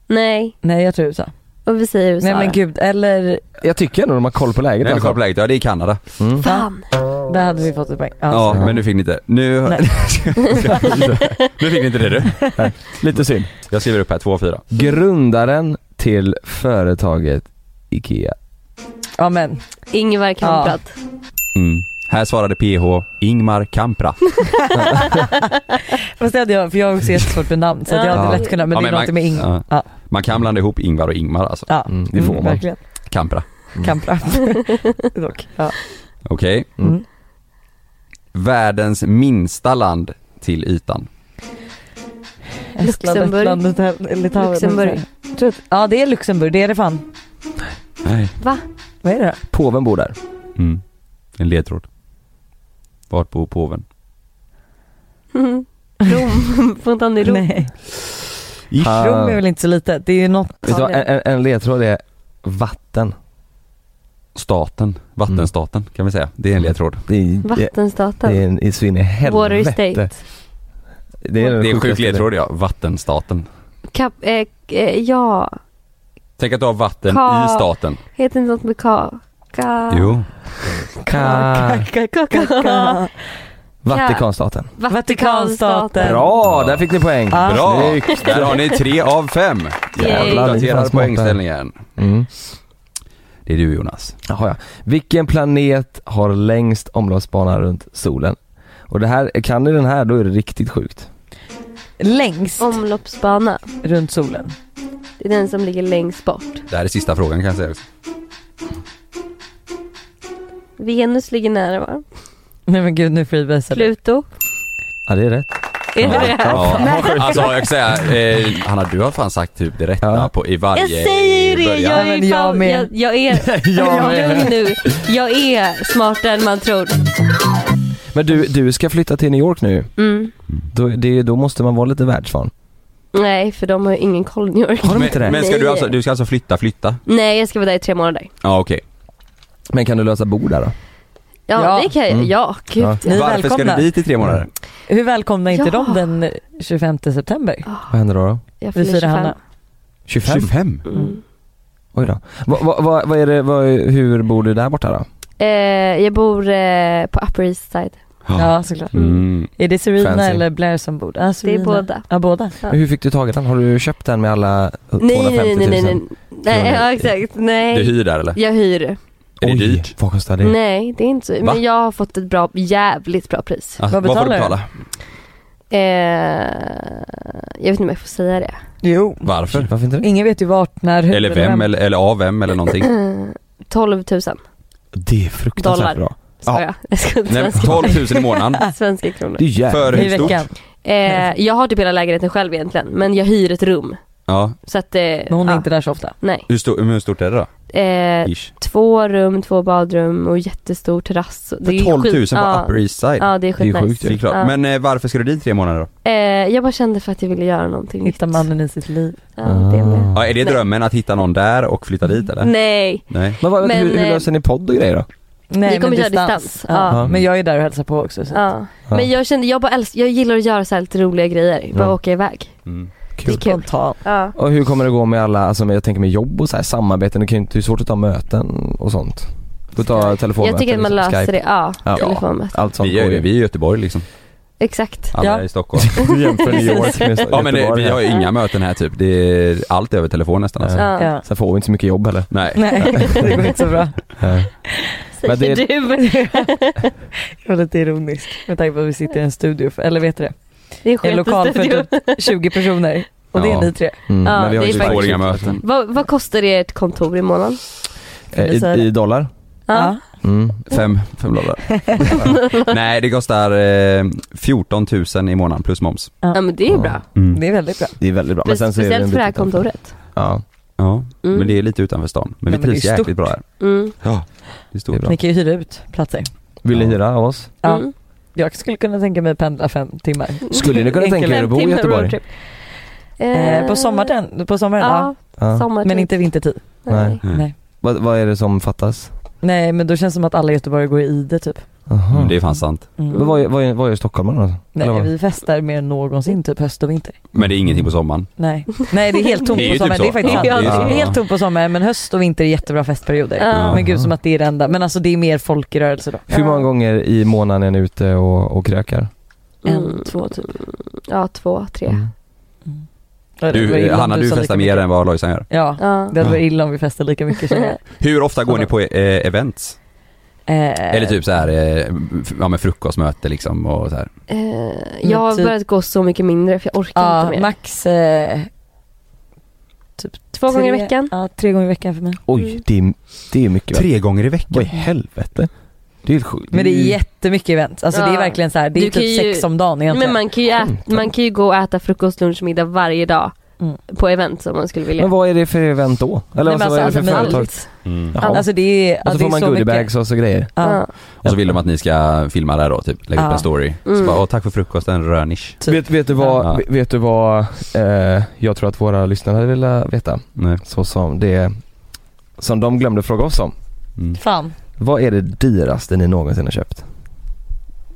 S2: Nej,
S5: Nej, jag tror USA.
S2: och vi säger USA
S5: Nej men
S2: då.
S5: gud, eller
S3: Jag tycker ändå de har koll på
S4: Nej,
S3: läget
S4: du
S3: alltså.
S4: kollar på läget. Ja, det är Kanada.
S3: Mm.
S2: Fan.
S5: där hade vi fått ett poäng.
S4: Ja,
S5: så-
S4: men nu fick ni inte. Nu,
S5: Nej.
S4: nu fick ni inte det du.
S3: Lite synd.
S4: Jag skriver upp här, två och fyra.
S3: Grundaren till företaget IKEA.
S5: ja men
S2: Ingvar Kamprad.
S4: Mm. Här svarade PH Ingmar Kamprad.
S5: Fast det hade jag, för jag har också jättesvårt med namn så att jag hade
S3: Ja.
S5: lätt kunnat, men
S4: Ja,
S5: det är
S4: men
S5: något med Ing.
S4: ja.
S5: Ja.
S4: Man kan blanda ihop Ingvar och Ingmar alltså.
S5: Ja,
S3: Mm, det får man. Mm.
S5: verkligen.
S4: Kampra.
S5: Kamprad. Dock. Ja.
S4: Okej.
S5: Mm.
S4: Världens minsta land till ytan.
S5: Estland,
S2: Luxemburg.
S5: Lettland, Litauen, Litauen.
S2: Luxemburg.
S5: Jag tror att- Ja det är Luxemburg, det är det fan.
S4: Nej.
S2: Va?
S5: Vad är det
S3: Påven bor där.
S4: Mm. En ledtråd. Vart bor påven?
S2: Mm. Rom, fontan i Rom.
S5: Nej.
S3: Ah.
S5: Rom är väl inte så litet? Det är ju något...
S3: Vet du vad, en, en- en ledtråd är vatten.
S4: Staten, vattenstaten
S3: Mm.
S4: kan vi säga. Det är en ledtråd.
S3: Det är,
S2: Vattenstaten.
S3: det är en, i så in i
S2: Water
S3: helvete.
S2: State.
S3: Det är, den
S4: en sjuk
S3: sjukaste
S4: ledtråd ja, vattenstaten.
S2: Kap, eh, k- eh, ja,
S4: Tänk att du har vatten
S2: Ka-
S4: i staten.
S2: heter inte något med ka... ka
S4: Jo.
S3: Ka-
S2: Ka-
S3: Vatikanstaten.
S2: Vatikanstaten.
S3: Bra, där fick ni poäng.
S4: Ah. Bra!
S3: Snyggt.
S4: Där har ni tre av fem. Jävlar,
S3: Jävlar, det är fan
S4: uppdaterar
S3: smarta.
S4: poängställningen.
S3: Mm.
S4: Det är du Jonas.
S3: Jaha, ja. Vilken planet har längst omloppsbana runt solen? Och det här, kan ni den här då är det riktigt sjukt.
S5: Längst.
S2: Omloppsbana.
S5: Runt solen.
S2: Det är den som ligger längst bort.
S4: Det här är sista frågan kan jag säga. också.
S2: Venus ligger nära va?
S5: Nej men gud nu freebasar du.
S2: Pluto.
S3: Ja det är rätt.
S2: Är det det?
S4: Ja. Alltså jag kan säga, eh, Hanna du har fan sagt typ det rätta på, i varje
S2: Jag säger ju det,
S4: början.
S2: jag är, fan, jag, jag är
S3: Jag med.
S2: nu. Jag är smartare än man tror.
S3: Men du, du ska flytta till New York nu.
S2: Mm.
S3: Då, det, då måste man vara lite världsvan.
S2: Nej, för de har ju ingen koll New York. Har
S3: de inte det?
S4: Men ska
S2: Nej.
S4: du alltså, du ska alltså flytta, flytta?
S2: Nej, jag ska vara där i tre månader.
S4: Ja okej.
S3: Men kan du lösa bo där då?
S2: Ja,
S5: Ja.
S2: det kan jag.
S3: Mm.
S2: Ja, gud.
S3: Ja.
S5: Ni är
S4: Varför ska
S5: välkomna.
S4: du dit i tre månader?
S5: Hur välkomna är inte
S2: Ja.
S5: de den 25 september?
S3: Vad händer då? då?
S2: Jag
S5: Vi
S2: fyller
S5: firar
S2: 25.
S5: Hanna.
S3: 25?
S4: 25?
S2: Mm.
S3: Oj då. Vad vad- vad- vad är det, vad, hur bor du där borta då?
S2: Eh, jag bor eh, på Upper East Side.
S5: Ja såklart.
S4: Mm.
S5: Är det Serena
S3: Ah. Fancy.
S5: eller Blair som bor där? Ah,
S2: Det är
S5: Serena.
S2: båda.
S5: Ja båda.
S2: Ja.
S3: Hur fick du tag i den? Har du köpt den med alla eh, 250 000?
S2: Nej, nej, nej, nej, nej. nej ja, exakt.
S4: Du
S2: Nej.
S4: hyr där eller?
S2: Jag hyr. det.
S4: Är det dyrt?
S3: Vad kostar det?
S2: Nej, det är inte så.
S4: Va?
S2: Men jag har fått ett bra, jävligt bra pris.
S4: Ja,
S5: Vad
S4: Ah, får du
S5: betalar du?
S4: betala?
S2: Eh, jag vet inte om jag får säga det.
S5: Jo.
S4: Varför?
S3: Varför inte det?
S5: Ingen vet ju vart, när, hur
S4: Eller vem eller, eller av vem eller någonting?
S2: 12 000
S3: Det är fruktansvärt
S2: Dollar.
S3: bra.
S2: sa jag. Jag ska inte
S4: Nej, men
S2: svenska,
S4: 12 000 i månaden.
S2: svenska kronor.
S3: Det är jävligt.
S4: För
S5: I
S4: hur stort?
S5: veckan.
S2: Eh, jag har typ hela lägenheten själv egentligen, men jag hyr ett rum.
S4: Ja.
S2: Så att eh,
S5: Men hon är
S2: ja,
S5: inte där så ofta.
S2: Nej.
S4: Hur, stor, hur stort är det då?
S2: Eh,
S4: Ish.
S2: två rum, två badrum och jättestor terrass. Det är
S4: För 12 000
S2: skit-
S4: på
S2: ja,
S4: Upper East Side?
S2: Ja, det är
S4: Det är
S2: skitnice.
S4: sjukt det är klart.
S2: Ja.
S4: Men eh, varför ska du dit i tre månader då?
S2: Eh, jag bara kände för att jag ville göra någonting
S5: Hittar
S2: nytt.
S5: mannen i sitt liv.
S2: Ja,
S3: Ah.
S2: det med.
S4: Ja, är det
S2: Nej.
S4: drömmen att hitta någon där och flytta dit eller?
S2: Nej,
S4: Nej.
S3: Men, vad,
S2: Men,
S3: hur, hur
S2: eh,
S3: löser ni podd och grejer då?
S5: Nej,
S2: vi kommer
S5: men
S2: köra distans. Ja.
S5: Ja. Men jag är där och hälsar på också. Så.
S2: Ja. Men jag kände, jag bara älskar, jag gillar att göra så här lite roliga grejer. Bara
S3: Ja.
S2: åka iväg.
S4: Mm.
S2: Det är kul.
S5: Spontan.
S2: Ja.
S3: Och hur kommer det gå med alla, alltså med, jag tänker med jobb och så här, samarbeten, det kan ju inte, det är svårt att ta möten och sånt. Du tar telefonmöten,
S2: Jag tycker att man
S3: liksom,
S2: löser
S3: Skype,
S2: det. Ja,
S3: Ja.
S2: telefonmöte.
S3: Allt sånt
S4: Vi är,
S3: går
S4: ju-
S3: ju.
S4: vi är i Göteborg liksom.
S2: Exakt.
S4: Alla
S5: Ja.
S4: är i Stockholm.
S3: Jämför New York med
S4: Ja men det,
S3: Göteborg
S4: vi
S3: här.
S4: har ju inga möten här typ. Det är allt över telefon nästan alltså.
S2: Ja.
S5: Ja.
S3: Sen får vi inte så mycket jobb heller.
S4: Nej.
S5: Nej, det går inte så bra.
S2: Säger
S3: Men det-
S2: du.
S5: Det var lite ironiskt med tanke på att vi sitter i en studio, för, eller vet du det?
S2: Det är skit
S5: En
S2: i
S5: lokal för
S2: studion.
S5: typ 20 personer. Och det
S4: Ja.
S5: är ni tre.
S3: Mm.
S2: Ja,
S3: men vi har
S2: det
S4: Vi
S3: ju
S2: är
S4: får
S3: faktiskt-
S4: inga möten.
S2: Vad, vad kostar ert kontor i månaden?
S3: Eh, I, I dollar?
S5: Ja.
S3: Mm.
S4: Fem, fem dollar. Nej det kostar eh, 14 000 i månaden plus moms.
S2: Ja men det är ju bra.
S3: Mm.
S5: Det är väldigt bra.
S3: Det är väldigt bra. Men sen så är det typ
S2: Speciellt
S3: en
S2: för det här
S3: bit utanför.
S2: kontoret.
S3: Ja,
S4: Ja,
S2: Mm.
S4: men det är lite utanför stan. Men
S5: Ja,
S4: vi
S5: men det är
S4: trivs jäkligt
S5: stort.
S4: bra här.
S2: Mm.
S4: Ja, det är
S3: det är
S4: stort.
S3: bra.
S5: Ni kan ju hyra ut platser.
S3: Vill ni
S4: Ja.
S3: hyra av oss?
S5: Ja.
S2: Mm.
S5: Jag skulle kunna tänka mig pendla fem timmar.
S3: Skulle ni kunna tänka er att bo i
S2: Fem timmar
S3: Göteborg?
S2: roadtrip. Eh,
S5: Eh, på sommaren, på sommaren ja.
S2: Ja, typ.
S3: Ja.
S2: sommartid.
S5: Men inte vintertid.
S3: Nej.
S4: Mm.
S5: Nej.
S3: Vad, vad är det som fattas?
S5: Nej men då känns det som att alla i Göteborg går i det typ.
S3: Aha.
S4: Mm, det är fan sant.
S3: Men vad är, vad är, vad är stockholmarna då? Eller
S5: Nej
S3: vad?
S5: vi festar mer än någonsin typ höst och vinter.
S4: Men det är ingenting på sommaren.
S5: Nej, Nej det är helt tomt
S4: Det är
S5: på
S4: ju typ
S5: sommaren.
S4: så.
S5: det är faktiskt
S4: Ja,
S5: sant.
S4: det är ju så.
S5: Det är helt tomt på sommaren men höst och vinter är jättebra festperioder.
S2: Ja.
S5: Men gud som att det är det enda. Men alltså det är mer folk i rörelse då.
S3: Hur många gånger i månaden är ni ute och, och krökar?
S5: En, två typ.
S2: Ja, två, tre.
S3: Mm.
S5: Ja, det var
S4: Du,
S5: illa om
S4: Hanna du
S5: sa
S4: festar
S5: lika
S4: mer
S5: mycket.
S4: än vad Lojsan gör.
S5: Ja,
S2: Ja.
S5: det hade varit illa om vi festade lika mycket som jag.
S4: Hur ofta går ni på eh, events?
S5: Eh,
S4: Eller typ så här, eh, f- ja men frukostmöte liksom och så här.
S2: Eh, jag har
S5: Men typ-
S2: börjat gå så mycket mindre för jag orkar
S5: Ja,
S2: inte mer.
S5: max eh,
S2: Två gånger i
S5: tre-
S2: veckan.
S5: Ja, tre gånger i veckan för mig.
S3: Oj, det är, det är mycket väl.
S4: Tre gånger i
S3: Vad i
S4: veckan?
S3: helvete? Det är helt sjukt.
S5: Men det
S4: Mm.
S5: är jättemycket event. Alltså det är
S2: Ja.
S5: verkligen så här, det är
S2: Du kan
S5: typ
S2: ju-
S5: sex om dagen egentligen.
S2: Men man kan ju, äta,
S3: Mm.
S2: man kan ju gå och äta frukost, lunch, middag varje dag
S5: Mm.
S2: på event om man skulle vilja.
S3: Men vad är det för event då? Eller
S2: Nej, men
S3: alltså, vad är det
S2: alltså,
S3: för
S2: alltså,
S3: företag?
S2: allt.
S3: Mm.
S5: Ja, Alltså det är, ja,
S3: och så
S5: det
S3: får
S5: är
S3: man
S5: så mycket.
S3: goodiebags och så grejer.
S5: Ja.
S4: Och så vill de att ni ska filma det här då, typ lägga upp
S5: Ja.
S4: en story. Så
S3: Mm.
S4: bara, åh tack för frukosten, rönish.
S5: Typ.
S3: Vet, vet du vad, vet du vad eh, jag tror att våra lyssnare hade velat veta? Så som det, som de glömde fråga oss om.
S4: Mm.
S5: Fan.
S3: Vad är det dyraste ni någonsin har köpt?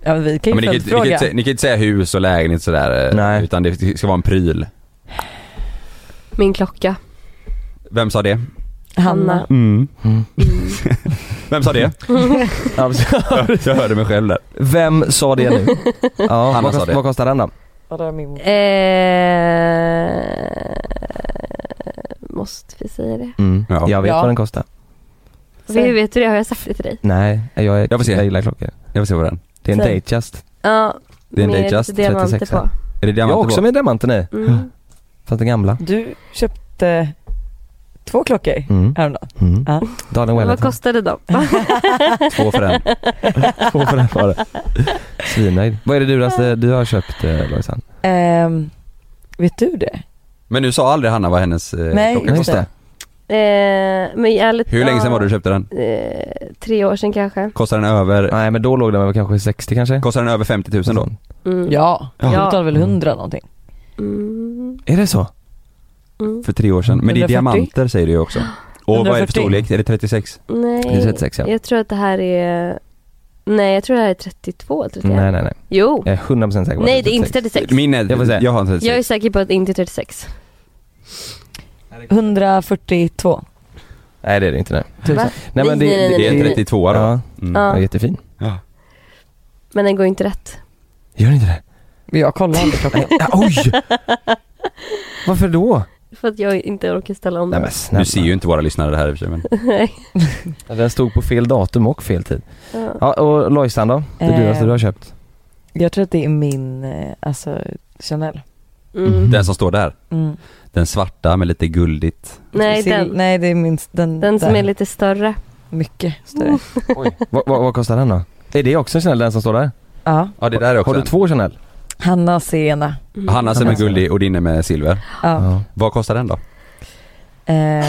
S5: Ja, men vi kan
S4: Ja,
S5: ju
S4: men ni, kan, ju- ni, kan, ju
S5: följdfråga.
S4: inte sä- ni kan ju inte säga hus och lägenhet sådär, Nej. utan det ska vara en pryl.
S2: Min klocka.
S4: Vem sa det?
S2: Hanna.
S4: Mm. Vem sa det? Jag hörde mig själv där.
S3: Vem sa det nu? Ja,
S4: Hanna
S3: vad,
S4: sa
S3: kost,
S4: det.
S3: vad kostar den då?
S2: Eh, måste vi säga det?
S3: Mm.
S4: Ja.
S3: Jag vet
S2: Ja.
S3: vad den kostar.
S2: Vi vet du det? Har jag sagt det till dig?
S3: Nej, jag, är, jag, jag gillar klockor.
S4: Jag får se vad den.
S3: Det är en
S2: Säg.
S3: Datejust.
S2: Ja. med diamanter på.
S4: Är det
S3: Jag har
S4: diamanter
S3: också
S4: på?
S3: med diamanten i.
S2: Mm.
S3: Fast den gamla.
S5: Du köpte två klockor
S3: Mm.
S5: häromdagen.
S3: Mm.
S5: Ja.
S3: Darling
S2: Vad
S3: Wellington.
S2: kostade de?
S3: Två för en. Två för en var det. Svinnöjd. Vad är det dyraste du har köpt eh, Lojsan?
S5: Ehm, vet du det?
S4: Men nu sa aldrig Hanna vad hennes eh,
S2: Nej,
S4: klocka
S2: just
S4: kostade.
S2: Eh, men ärligt,
S4: Hur länge sedan var det du köpte den?
S2: Eh, tre år sedan kanske.
S4: Kostar den över?
S3: Nej men då låg den väl kanske 60 kanske?
S4: Kostar den över 50 000 då?
S2: Mm.
S5: Ja,
S4: Ja.
S5: du betalade väl hundra någonting?
S2: Mm.
S3: Är det så?
S2: Mm.
S4: För tre år sedan. Men det är
S2: 140.
S4: diamanter säger du ju också. Och vad är det för
S2: 140?
S4: storlek? Är det 36?
S2: Nej, jag tror att det här är... Nej, jag tror det här är 32 eller 31.
S3: Nej nej nej.
S2: Jo.
S3: Jag är typ 100% säker på
S2: Nej, det är inte 36.
S4: Min är,
S3: Jag får se.
S4: jag har en 36.
S2: Jag är säker på att det inte är 36.
S5: 142.
S3: Nej det är det inte nej.
S5: Tusen.
S3: Nej men det,
S2: Nej, nej, nej,
S4: Det är en 32 då.
S3: Ja.
S4: Mm.
S2: Ja.
S3: Ja, jättefin.
S2: Men den går inte rätt.
S3: Gör den inte det?
S5: Jag kollar aldrig klockan.
S3: Oj! Varför då?
S2: För att jag inte orkar ställa om den.
S4: Du ser ju inte våra lyssnare det här i och för sig men.
S2: Nej.
S3: Ja, Den stod på fel datum och fel tid.
S2: Ja.
S3: Ja, och Lojsan då? Det
S5: Eh.
S3: dyraste du har köpt?
S5: Jag tror att det är min, eh, alltså Chanel.
S4: Den som står där.
S5: Mm.
S4: Den svarta med lite guldigt.
S2: Nej,
S5: Sil-
S2: den-
S5: Nej, det är min, den
S2: Den som
S5: där.
S2: är lite större.
S5: Mycket större.
S3: vad, vad, vad kostar den då? Är det också en Chanel den som står där?
S5: Ja.
S4: Ja det där är också
S3: Har du
S4: en.
S3: två Chanel?
S5: Hanna Sena.
S2: Mm.
S4: Hannas är med guldig och din är med silver.
S5: Ja.
S4: Vad kostar den då?
S5: Eh,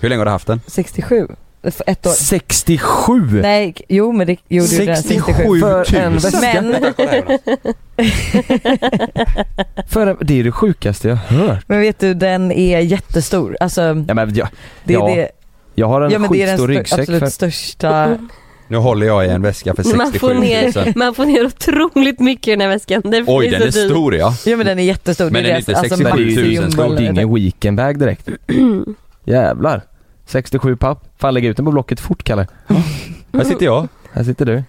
S4: Hur länge har du haft den?
S5: 67. För Ett år.
S3: 67!
S5: Nej, jo men det gjorde ju den
S3: 67 För en väska.
S5: Men,
S3: För, en- det är det sjukaste jag har hört.
S5: men vet du, den är jättestor. Alltså,
S3: Ja, men jag,
S5: det är
S3: ja,
S5: det.
S3: jag har en
S5: ja, men det är den
S3: skitstor
S5: stö-
S3: ryggsäck
S5: absolut
S3: för...
S5: största.
S4: Nu håller jag i en väska för 67
S2: Man får, ner,
S4: 000.
S2: man får ner otroligt mycket i den här väskan. Den
S4: Oj den
S2: så
S4: är
S2: dyr.
S4: stor ja.
S5: Ja men den är jättestor.
S4: Men
S5: det
S4: den är
S5: deras-
S4: inte
S5: alltså,
S4: 67 000
S5: maximum-
S4: stor.
S3: Det är ingen weekendbag direkt. Jävlar. 67 papp. Fan lägg ut den på blocket fort Kalle.
S4: Här sitter jag.
S3: Här sitter du.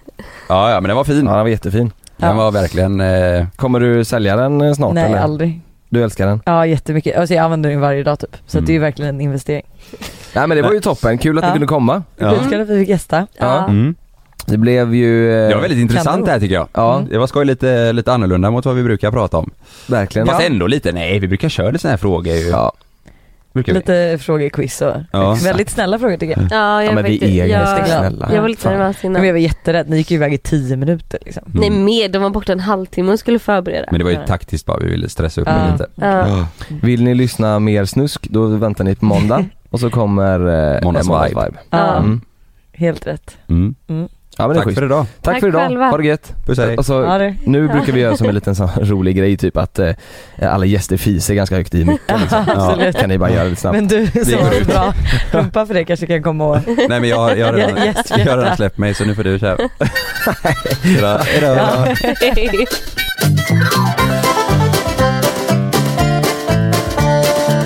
S4: Ja, ja men den var fin.
S3: Ja den var jättefin.
S4: Den var verkligen... Eh...
S3: Kommer du sälja den eh, snart
S5: Nej,
S3: eller?
S5: aldrig.
S3: Du älskar den?
S5: Ja jättemycket. Alltså jag använder den varje dag typ. Så att det är
S3: Mm.
S5: ju verkligen en investering.
S3: Nej men det var ju toppen, kul att
S5: Ja.
S3: ni kunde komma.
S5: Skitkul att vi fick gästa.
S3: Ja. Det blev ju... eh,
S4: Mm. Det var väldigt intressant det här tycker jag.
S3: Ja.
S5: Mm.
S4: Det var skoj lite, lite annorlunda mot vad vi brukar prata om.
S3: Verkligen.
S4: Fast
S3: Ja.
S4: ändå lite, nej vi brukar köra lite sådana här frågor ju.
S3: Ja.
S4: Brukar vi.
S5: Lite frågequiz och
S4: Ja.
S5: väldigt snälla frågor tycker jag.
S2: Ja, jag
S3: Ja, men vi
S2: vet
S3: är
S2: jag,
S3: ganska snälla.
S2: Jag var lite
S3: Fan.
S2: nervös innan.
S5: Men jag var jätterädd, ni gick ju iväg i tio minuter liksom.
S2: Nej mer, de var borta en halvtimme och skulle förbereda.
S4: Mm. Men det var ju taktiskt bara, vi ville stressa upp
S2: Ja.
S4: mig lite. Mm.
S2: Ja.
S3: Vill ni lyssna mer snusk, då väntar ni på måndag. Och så kommer eh,
S4: Måndags
S3: eh,
S4: vibe.
S5: Ja.
S3: Mm.
S5: Helt rätt.
S4: Mm.
S3: Ja, men det är
S4: Tack
S3: schysst.
S4: för idag.
S3: Tack,
S2: Tack
S3: för idag,
S2: själva.
S3: ha det gött.
S4: Puss, hej.
S3: Och så,
S5: Ha det.
S3: nu brukar vi göra som en liten sån rolig grej typ att eh, alla gäster fiser ganska högt i micken liksom.
S5: Absolut.
S3: Kan ni bara göra lite snabbt.
S5: Men du som
S4: går
S5: har
S4: ut.
S5: så bra rumpa för det kanske kan komma och...
S4: Nej men jag, har- jag, har redan,
S5: Yes,
S4: jag har
S5: hjärta.
S4: redan släppt mig så nu får du köra. Hejdå. Hejdå.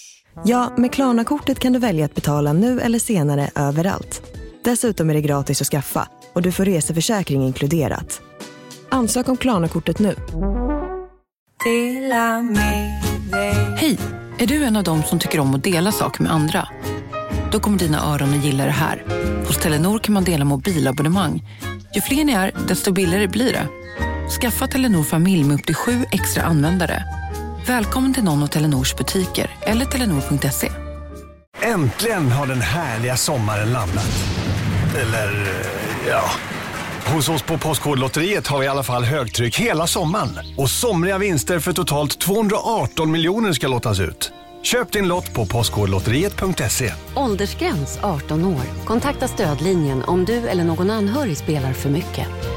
S1: Ja, med Klarna-kortet kan du välja att betala nu eller senare överallt. Dessutom är det gratis att skaffa och du får reseförsäkring inkluderat. Ansök om Klarna-kortet nu.
S8: Hej! Är du en av dem som tycker om att dela saker med andra? Då kommer dina öron att gilla det här. Hos Telenor kan man dela mobilabonnemang. Ju fler ni är, desto billigare blir det. Skaffa Telenor familj med upp till sju extra användare. Välkommen till någon av Telenors butiker eller telenor.se.
S3: Äntligen har den härliga sommaren landat. Eller, eh, ja. Hos oss på Postkodlotteriet har vi i alla fall högtryck hela sommaren. Och somriga vinster för totalt 218 miljoner ska lottas ut. Köp din lott på postkodlotteriet.se.
S9: Åldersgräns 18 år. Kontakta stödlinjen om du eller någon anhörig spelar för mycket.